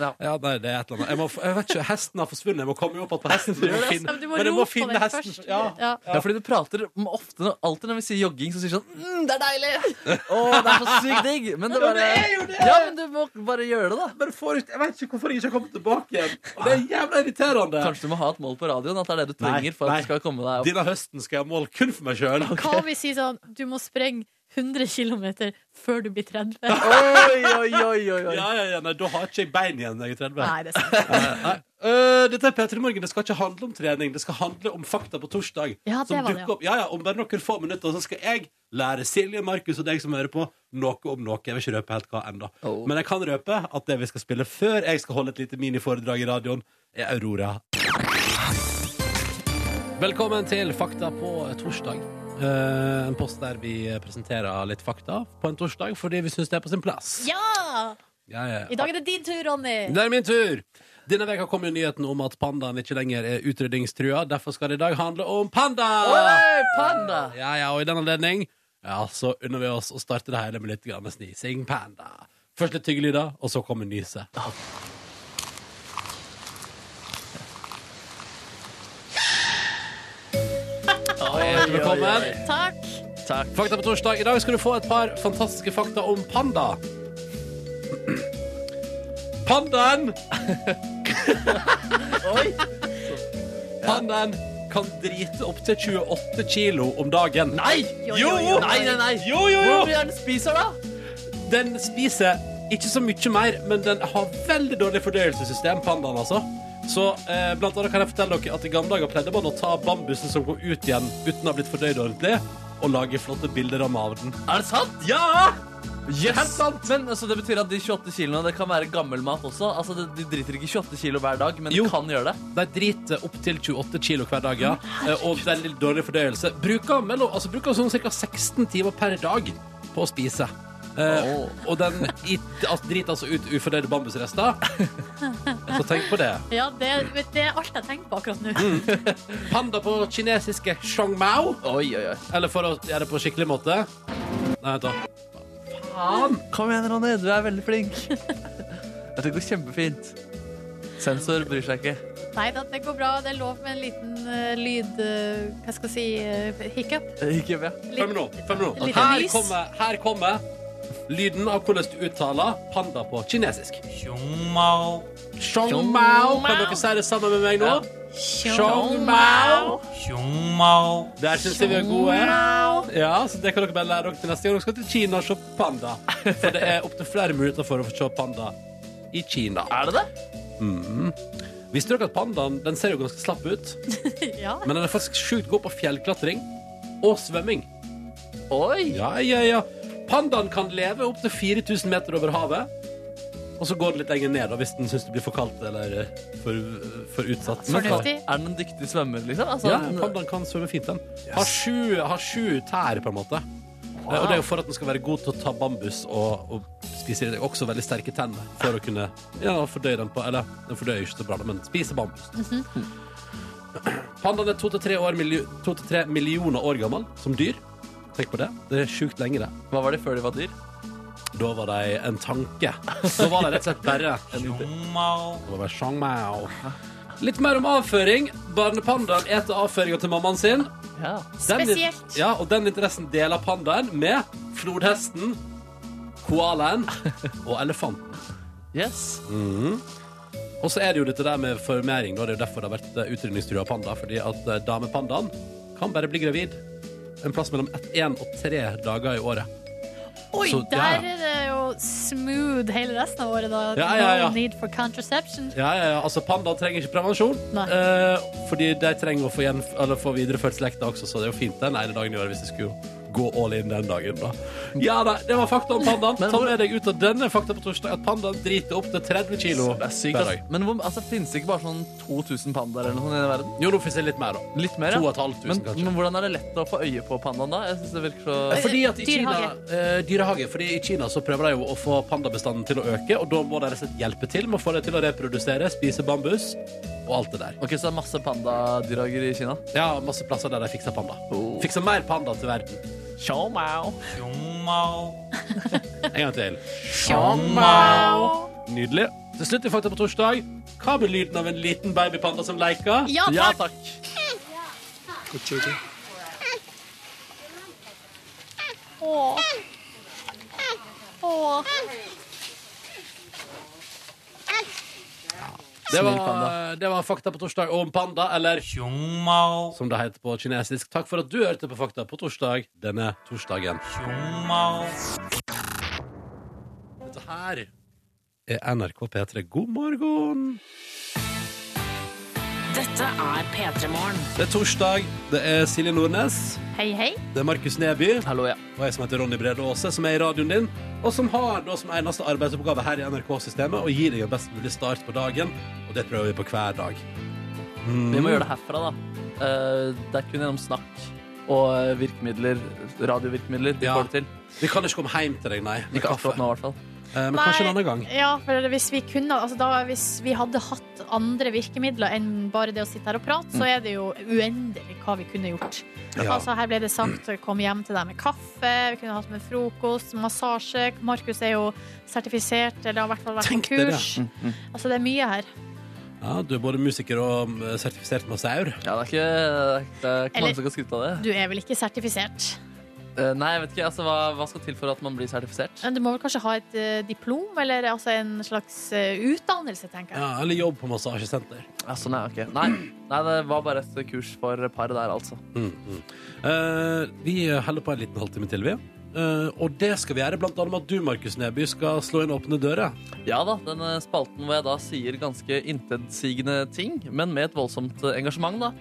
D: ja.
B: Ja, nei, det er et eller annet. Jeg, må, f- jeg vet ikke, Hesten har forsvunnet. Jeg må komme meg opp igjen på hesten. Men jeg må
C: Ja,
B: finne,
C: men du må
B: men jeg
C: rope
B: må
C: på
B: finne
C: den
B: hesten.
C: først.
B: Ja.
C: Ja.
D: Ja, fordi du prater om ofte Alltid når vi sier jogging, så sier du sånn mm, 'Det er deilig!' Å, det er så sykt digg! Men det, bare,
B: det er jo det!
D: Ja, men du må bare gjøre det, da.
B: Bare får ut- Jeg vet ikke hvorfor jeg ikke har kommet tilbake igjen. Og det er jævla irriterende.
D: Kanskje du må ha et mål på radioen? At det er det du trenger for
B: nei.
D: at du skal komme deg opp?
B: Denne høsten skal jeg ha mål kun for meg sjøl.
C: Hva om vi sier sånn Du må sprenge 100 km før du blir 30?
D: Oi, oi, oi, oi, oi.
B: Ja, ja, ja, nei, da har ikke jeg bein igjen når jeg er 30.
C: Nei, det er sant.
B: Øh, Eh, dette er Peter i Morgen. Det skal ikke handle om trening. Det skal handle om fakta på torsdag.
C: Ja, det
B: som
C: var det,
B: dukker
C: ja.
B: opp. Ja, ja, om bare noen få minutter så skal jeg lære Silje, Markus og deg som hører på, noe om noe. Jeg vil ikke røpe helt hva ennå.
D: Oh.
B: Men jeg kan røpe at det vi skal spille før jeg skal holde et lite miniforedrag i radioen, er Aurora. Velkommen til Fakta på torsdag. Eh, en post der vi presenterer litt fakta på en torsdag, fordi vi syns det er på sin plass.
C: Ja!
B: Ja, ja.
C: I dag er det din tur, Ronny.
B: Det er min tur! Denne veka kom jo nyheten om at pandaen ikke lenger er utrydningstrua. Derfor skal det i dag handle om panda!
D: Oi, panda!
B: Ja, ja, og i den anledning ja, så unner vi oss å starte det hele med litt grann snising panda. Først litt tyggelyder, og så kommer nyset. Hjertelig velkommen.
C: Takk.
D: Takk.
B: Fakta på torsdag. I dag skal du få et par fantastiske fakta om panda. Pandaen
D: Oi!
B: Pandaen kan drite opptil 28 kilo om dagen.
D: Nei!
B: Jo!
C: Jo, jo, jo.
D: Nei, nei, nei!
B: Jo, jo, jo!
D: Hvor mye er den spiser, da?
B: Den spiser ikke så mye mer, men den har veldig dårlig fordøyelsessystem, pandaen altså. Så eh, blant annet kan jeg fortelle dere at i gamle dager pleide man å ta bambusen som går ut igjen uten å ha blitt fordøyd ordentlig, og lage flotte bilder av den.
D: Er det sant?
B: Ja!
D: Yes! Men altså, Det betyr at de 28 kiloene det kan være gammel mat også? Altså, det- De driter ikke i 28 kilo hver dag, men
B: Jo.
D: de kan gjøre det?
B: De driter opptil 28 kilo hver dag, ja. Eh, Og veldig dårlig fordøyelse. Bruker, mellom, altså bruker sånn ca. 16 timer per dag på å spise. Eh, Og den i, altså, driter altså ut ufordøyde bambusrester. Så tenk på det.
C: Ja, det, vet du, det er alt jeg tenker på akkurat nå.
B: Panda på kinesiske shong mao.
D: Oi, oi, oi.
B: Eller for å gjøre det på skikkelig måte Nei, vent da.
D: Kom igjen, Ronny. Du er veldig flink. Dette går kjempefint. Sensor bryr seg ikke.
C: Nei da, det går bra. Det er lov med en liten eh, lyd eh, Hva skal jeg si eh, hiccup.
D: Ikke med.
B: Fem minutter. Fem minutter.
C: Litt
B: Her
C: nys.
B: kommer, her kommer lyden av hvordan du uttaler panda på kinesisk. Shong mao. Kan dere si det sammen med meg nå?
D: Ja.
B: Shong Mao. Der syns jeg vi er gode. Ja, så Det kan dere bare lære dere til neste gang dere skal til Kina og se panda. For det er opptil flere muligheter for å få se panda i Kina.
D: Er det det?
B: Visste dere at pandaen den ser jo ganske slapp ut,
C: Ja.
B: men den er faktisk sjukt god på fjellklatring og svømming.
D: Oi!
B: Ja, ja, ja. Pandaen kan leve opptil 4000 meter over havet. Og så går det litt lenger ned da, hvis den syns det blir for kaldt eller eh, for, for utsatt.
C: Men Fornuftig.
D: Er den en dyktig svømmer, liksom? Altså,
B: Ja,
D: den-
B: pandaen kan svømme fint, den. Har sju, har sju tær, på en måte. Eh, Og det er jo for at den skal være god til å ta bambus og, og spise det. Også veldig sterke tenner for å kunne ja, fordøye den på Eller den fordøyer ikke så bra, men spise bambus. Pandaen er to til tre år miljo- to til tre millioner år gammel som dyr. Tenk på det. Det er sjukt lenge, det.
D: Hva var det før de var dyr?
B: Da var de en tanke. Da var de rett og slett bare en Det var bare Shang Mao. Litt mer om avføring. Barnepandaen eter avføringa til mammaen sin.
D: Ja.
B: Den-
C: Spesielt.
B: Ja, og den interessen deler pandaen med flodhesten, koalaen og elefanten.
D: Yes.
B: Og så er det jo dette der med formering. Da. Det er jo derfor det har vært eh, utrydningstrua panda. Fordi at eh, damepandaen kan bare bli gravid en plass mellom ett- én og tre dager i året.
C: Oi,
B: Så- ja, ja.
C: der er det jo smooth hele resten av året, da.
B: Ja, ja, ja.
C: No need for contraception.
B: Ja, ja, ja. Altså, pandaer trenger ikke prevensjon.
C: Nei.
B: Eh, fordi de trenger å få, gjenf eller få videreført slekta også, så det er jo fint den ene dagen i året hvis de skulle gå all in den dagen. da. Ja, nei, det var fakta om pandaen. Ta med deg ut av denne fakta på torsdag at pandaen driter opp til 30 kilo
D: Det er sykt,
B: hver
D: ass.
B: dag.
D: Men hvor, altså, finnes det ikke bare sånn 2000 pandaer eller noe sånt i verden?
B: Jo, nå finnes det litt mer, da.
D: Litt mer, ja.
B: 2500,
D: men,
B: kanskje.
D: men hvordan er det lett å få øye på pandaen da? Jeg synes det virker så...
B: Fordi at i Kina,
C: Eh, Dyrehage.
B: eh, dyrehage. Fordi i Kina så prøver de jo å få pandabestanden til å øke, og da må de rett og slett hjelpe til med å få dem til å reprodusere, spise bambus og alt det der.
D: Ok, så det er masse pandadyrager i Kina.
B: Ja, masse plasser der de fikser panda.
D: Oh.
B: Fikser mer panda til verden.
D: Xiao Mao.
B: En gang til. Nydelig. Til slutt i Fakta på torsdag. Hva blir lyden av en liten babypanda som leker?
C: Ja,
D: Ja,
C: takk.
D: takk.
C: Åh. Åh.
B: Det
D: Snill
B: var,
D: panda.
B: det var Fakta på torsdag om panda, eller som det heter på kinesisk. Takk for at du hørte på Fakta på torsdag denne torsdagen. Dette her er NRK P3. God morgen!
I: Dette er P3 Morgen.
B: Det er torsdag. Det er Silje Nordnes.
C: Hei, hei.
B: Det er Markus Neby.
D: Hallo, ja.
B: Og jeg som heter Ronny Brede Aase, som er i radioen din, og som har da som eneste arbeidsoppgave her i NRK-systemet å gi deg en best mulig start på dagen. Og det prøver vi på hver dag.
D: Vi må gjøre det herfra da. Eh, det er kun gjennom snakk. og virkemidler, radiovirkemidler. De
B: Ja.
D: får det til.
B: Vi kan ikke komme hjem til deg, nei. Med
D: Ikke
B: kaffe.
D: akkurat nå, i hvert fall.
B: Eh, men kanskje en annen gang.
C: Ja, for hvis vi kunne altså da, Hvis vi hadde hatt andre virkemidler enn bare det å sitte her og prate, så er det jo uendelig hva vi kunne gjort.
B: Mm. Ja.
C: Altså Her ble det sagt kom hjem til deg med kaffe, vi kunne hatt med frokost, massasje. Markus er jo sertifisert, eller har i hvert fall vært
B: Tenk Mm,
C: på
B: deg det.
C: kurs. Altså det er mye her.
B: Ja, du er både musiker og mm, sertifisert massaur.
D: Ja, det er ikke, det er ikke
C: Eller-
D: mange som kan skryte av det.
C: Du er vel ikke sertifisert?
D: Eh, Nei, jeg vet ikke. Altså, hva, hva skal til for at man blir sertifisert?
C: Men du må vel kanskje ha et eh, diplom, eller altså en slags eh, utdannelse, tenker jeg.
B: Ja, eller jobb på massasjesenter.
D: Ja, sånn er jeg ikke. Nei, nei, det var bare et kurs for paret der, altså.
B: Mm, mm. Eh, vi holder på en liten halvtime til, vi. Eh, og det skal vi gjøre blant annet med at du, Markus Neby, skal slå inn åpne dører.
D: Ja da, denne spalten hvor jeg da sier ganske intetsigende ting, men med et voldsomt eh, engasjement, da.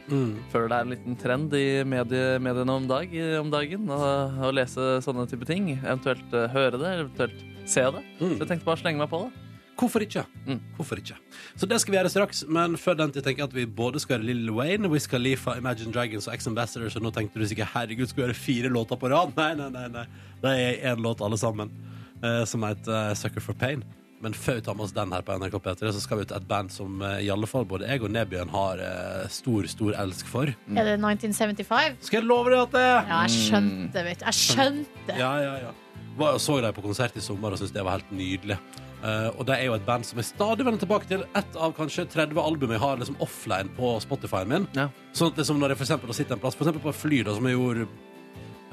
D: Føler det er en liten trend i medie, mediene om, dag, eh, om dagen å, å lese sånne type ting. Eventuelt eh, høre det, eventuelt se det.
B: Mm.
D: Så jeg tenkte bare å slenge meg på det.
B: Hvorfor ikke?
D: Mm.
B: Hvorfor ikke? Så det skal vi gjøre straks, men før den tid tenker jeg at vi både skal høre Lill Wayne, Wiz Khalifa, Imagine Dragons og Ex Ambassadors, og nå tenkte du sikkert herregud, skal vi høre fire låter på rad? Nei, nei, nei. nei. Det er én låt alle sammen, eh, som heter eh, Sucker for Pain. Men før vi tar med oss den her på NRK P3, så skal vi til et band som eh, i alle fall både jeg og Nebyen har eh, stor, stor elsk for.
C: Er det 1975?
B: Skal jeg love deg at det
C: Ja, jeg skjønte det, vet du. Jeg skjønte
B: Mm.
C: det.
B: Ja, ja, ja. Var og så dem på konsert i sommer og syntes det var helt nydelig. Eh, og det er jo et band som jeg stadig vender tilbake til. Ett av kanskje 30 album jeg har liksom offline på Spotify-en min.
D: Ja.
B: Sånn at liksom når jeg for eksempel sitter en plass, for eksempel på et fly, da, som jeg gjorde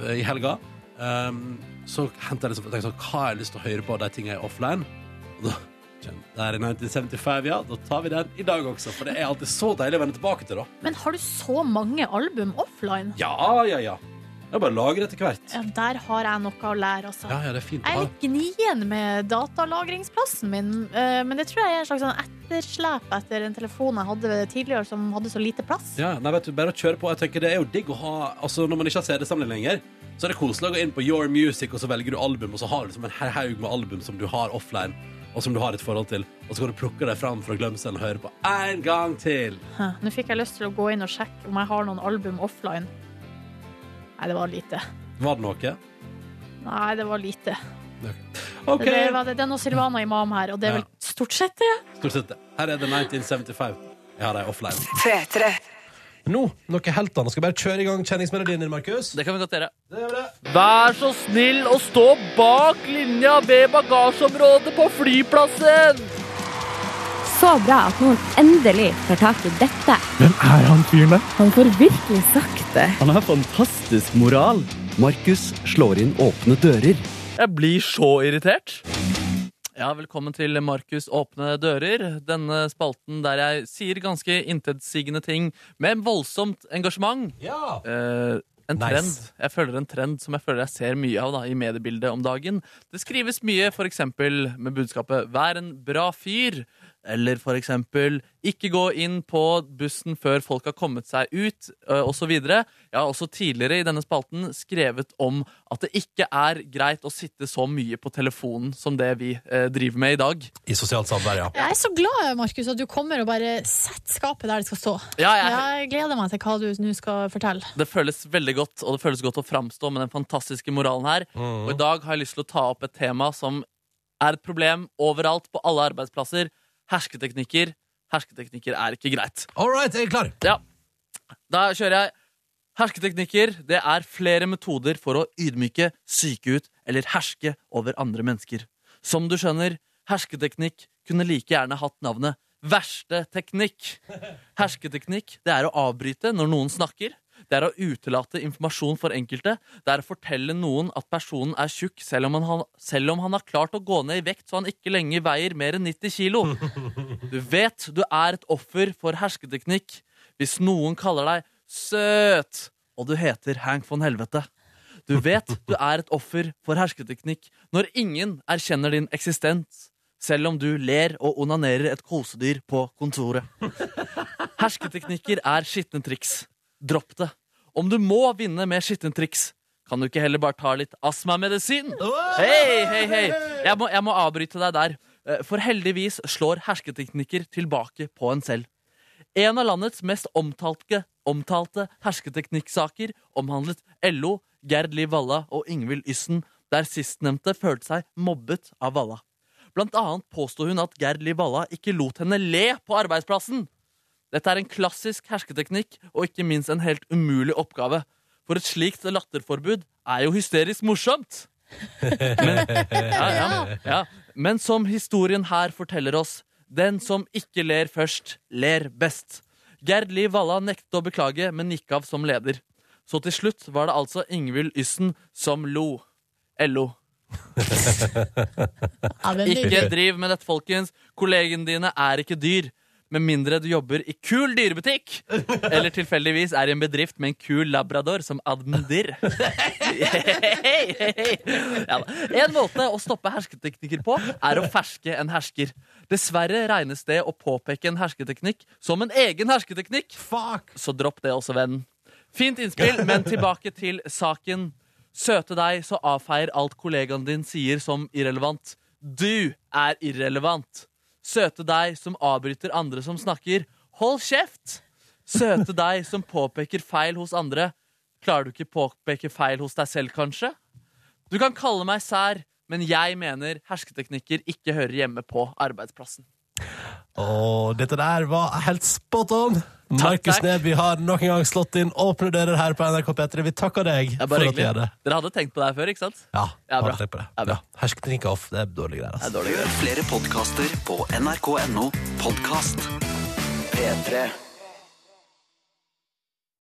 B: eh, i helga, ehm, så henter jeg liksom tenker sånn, hva har jeg lyst til å høre på av de tingene jeg er offline? Og da kjenner jeg, Der er 1975, ja. Da tar vi den i dag også. For det er alltid så deilig å vende tilbake til, da.
C: Men har du så mange album offline?
B: Ja, ja, ja. Jeg bare lager etter hvert.
C: Ja, der har jeg noe å lære, altså.
B: Ja, ja, det er fint. å
C: Jeg er
B: ha.
C: litt gnien med datalagringsplassen min, eh, men det tror jeg er et slags sånn etterslep etter en telefon jeg hadde tidligere som hadde så lite plass.
B: Ja, nei, vet du, bare å kjøre på. Jeg tenker Det er jo digg å ha Altså, Når man ikke har CD-samling lenger, så er det koselig å gå inn på Your Music, og så velger du album, og så har du liksom en her- haug med album som du har offline, og som du har et forhold til, og så kan du plukke deg fram fra glemselen og høre på én gang til.
C: Hæ, Nå fikk jeg lyst til å gå inn og sjekke om jeg har noen album offline. Nei, det var lite.
B: Var det noe?
C: Nei, det var lite.
B: OK!
C: Det, var det, det er noe Silvana Imam her, og det er vel
B: Ja.
C: stort sett det.
B: Stort sett det. Her er det 1975. Jeg har dem offline. Nå, noe helt annet. Skal bare kjøre i gang kjenningsmelodien din, Markus.
D: Det kan vi godt gjøre.
B: Det gjør det.
D: Vær så snill å stå bak linja ved bagasjeområdet på flyplassen!
J: Så bra at noen endelig tar tak i dette.
K: Hvem er han fyren der?
J: Han får virkelig sagt det.
K: Han har fantastisk moral. Markus slår inn åpne dører.
D: Jeg blir så irritert. Ja, Velkommen til Markus åpne dører. Denne spalten der jeg sier ganske intetsigende ting med voldsomt engasjement.
B: Ja.
D: Eh, en
B: Nice.
D: trend. Jeg føler en trend som jeg føler jeg ser mye av da, i mediebildet om dagen. Det skrives mye for eksempel med budskapet 'vær en bra fyr', eller for eksempel 'ikke gå inn på bussen før folk har kommet seg ut', eh, og så videre. Jeg har også tidligere i denne spalten skrevet om at det ikke er greit å sitte så mye på telefonen som det vi eh, driver med i dag.
B: I sosialt samvær, ja.
C: Jeg er så glad, Markus, at du kommer og bare setter skapet der det skal stå.
D: Ja, jeg,
C: Jeg gleder meg til hva du nå skal fortelle.
D: Det føles veldig godt, og det føles godt å framstå med den fantastiske moralen her. Og i dag har jeg lyst til å ta opp et tema som er et problem overalt på alle arbeidsplasser. Hersketeknikker. Hersketeknikker er ikke greit.
B: All right, jeg er klar.
D: Ja, da kjører jeg. Hersketeknikker det er flere metoder for å ydmyke, syke ut eller herske over andre mennesker. Som du skjønner, hersketeknikk kunne like gjerne hatt navnet verste teknikk. Hersketeknikk det er å avbryte når noen snakker. Det er å utelate informasjon for enkelte. Det er å fortelle noen at personen er tjukk selv om han, selv om han har klart å gå ned i vekt så han ikke lenger veier mer enn 90 kilo. Du vet du er et offer for hersketeknikk hvis noen kaller deg søt, og du heter Hank von Helvete. Du vet du er et offer for hersketeknikk når ingen erkjenner din eksistens, selv om du ler og onanerer et kosedyr på kontoret. Hersketeknikker er skitne triks. Dropp det. Om du må vinne med skitne triks, kan du ikke heller bare ta litt astmamedisin? Hei, hei, hei! Jeg må, jeg må avbryte deg der. Eh, For heldigvis slår hersketeknikker tilbake på en selv. En av landets mest omtalte, omtalte hersketeknikksaker omhandlet LO, Gerd Liv Valla og Ingvild Yssen, der sistnevnte følte seg mobbet av Valla. Blant annet påsto hun at Gerd Liv Valla ikke lot henne le på arbeidsplassen. Dette er en klassisk hersketeknikk og ikke minst en helt umulig oppgave. For et slikt latterforbud er jo hysterisk morsomt! Men, ja, ja, ja. Men som historien her forteller oss, den som ikke ler først, ler best. Gerd Liv Valla nektet å beklage, men gikk av som leder. Så til slutt var det altså Ingvild Yssen som lo. LO.
E: den er
D: ikke
E: nydelig.
D: driv med dette, folkens. Kollegene dine er ikke dyr. Med mindre du jobber i kul dyrebutikk, eller tilfeldigvis er i en bedrift med en kul labrador som admdir. Ja, da. en måte å stoppe hersketeknikker på er å ferske en hersker. Dessverre regnes det å påpeke en hersketeknikk som en egen hersketeknikk. Så dropp det også, venn. Fint innspill, men tilbake til saken. Søte deg, så avfeier alt kollegaen din sier som irrelevant. Du er irrelevant. Søte deg som avbryter andre som snakker. Hold kjeft! Søte deg som påpeker feil hos andre. Klarer du ikke påpeke feil hos deg selv, kanskje? Du kan kalle meg sær, men jeg mener hersketeknikker ikke hører hjemme på arbeidsplassen.
L: Og dette der var helt spot on. Markus
D: takk.
L: Neby har nok en gang slått inn åpne dører her på NRK P3. Vi takker deg
D: Det er
L: for
D: bare
L: at du gjør
D: hyggelig.
L: det.
D: Dere hadde tenkt på det her før, ikke sant?
L: Ja,
D: Ja, bra.
L: bare tenk på det. Ja, Hersketeknikk er off. Det er dårlige greier. Altså.
K: Hør flere podkaster på nrk.no podkast. P3.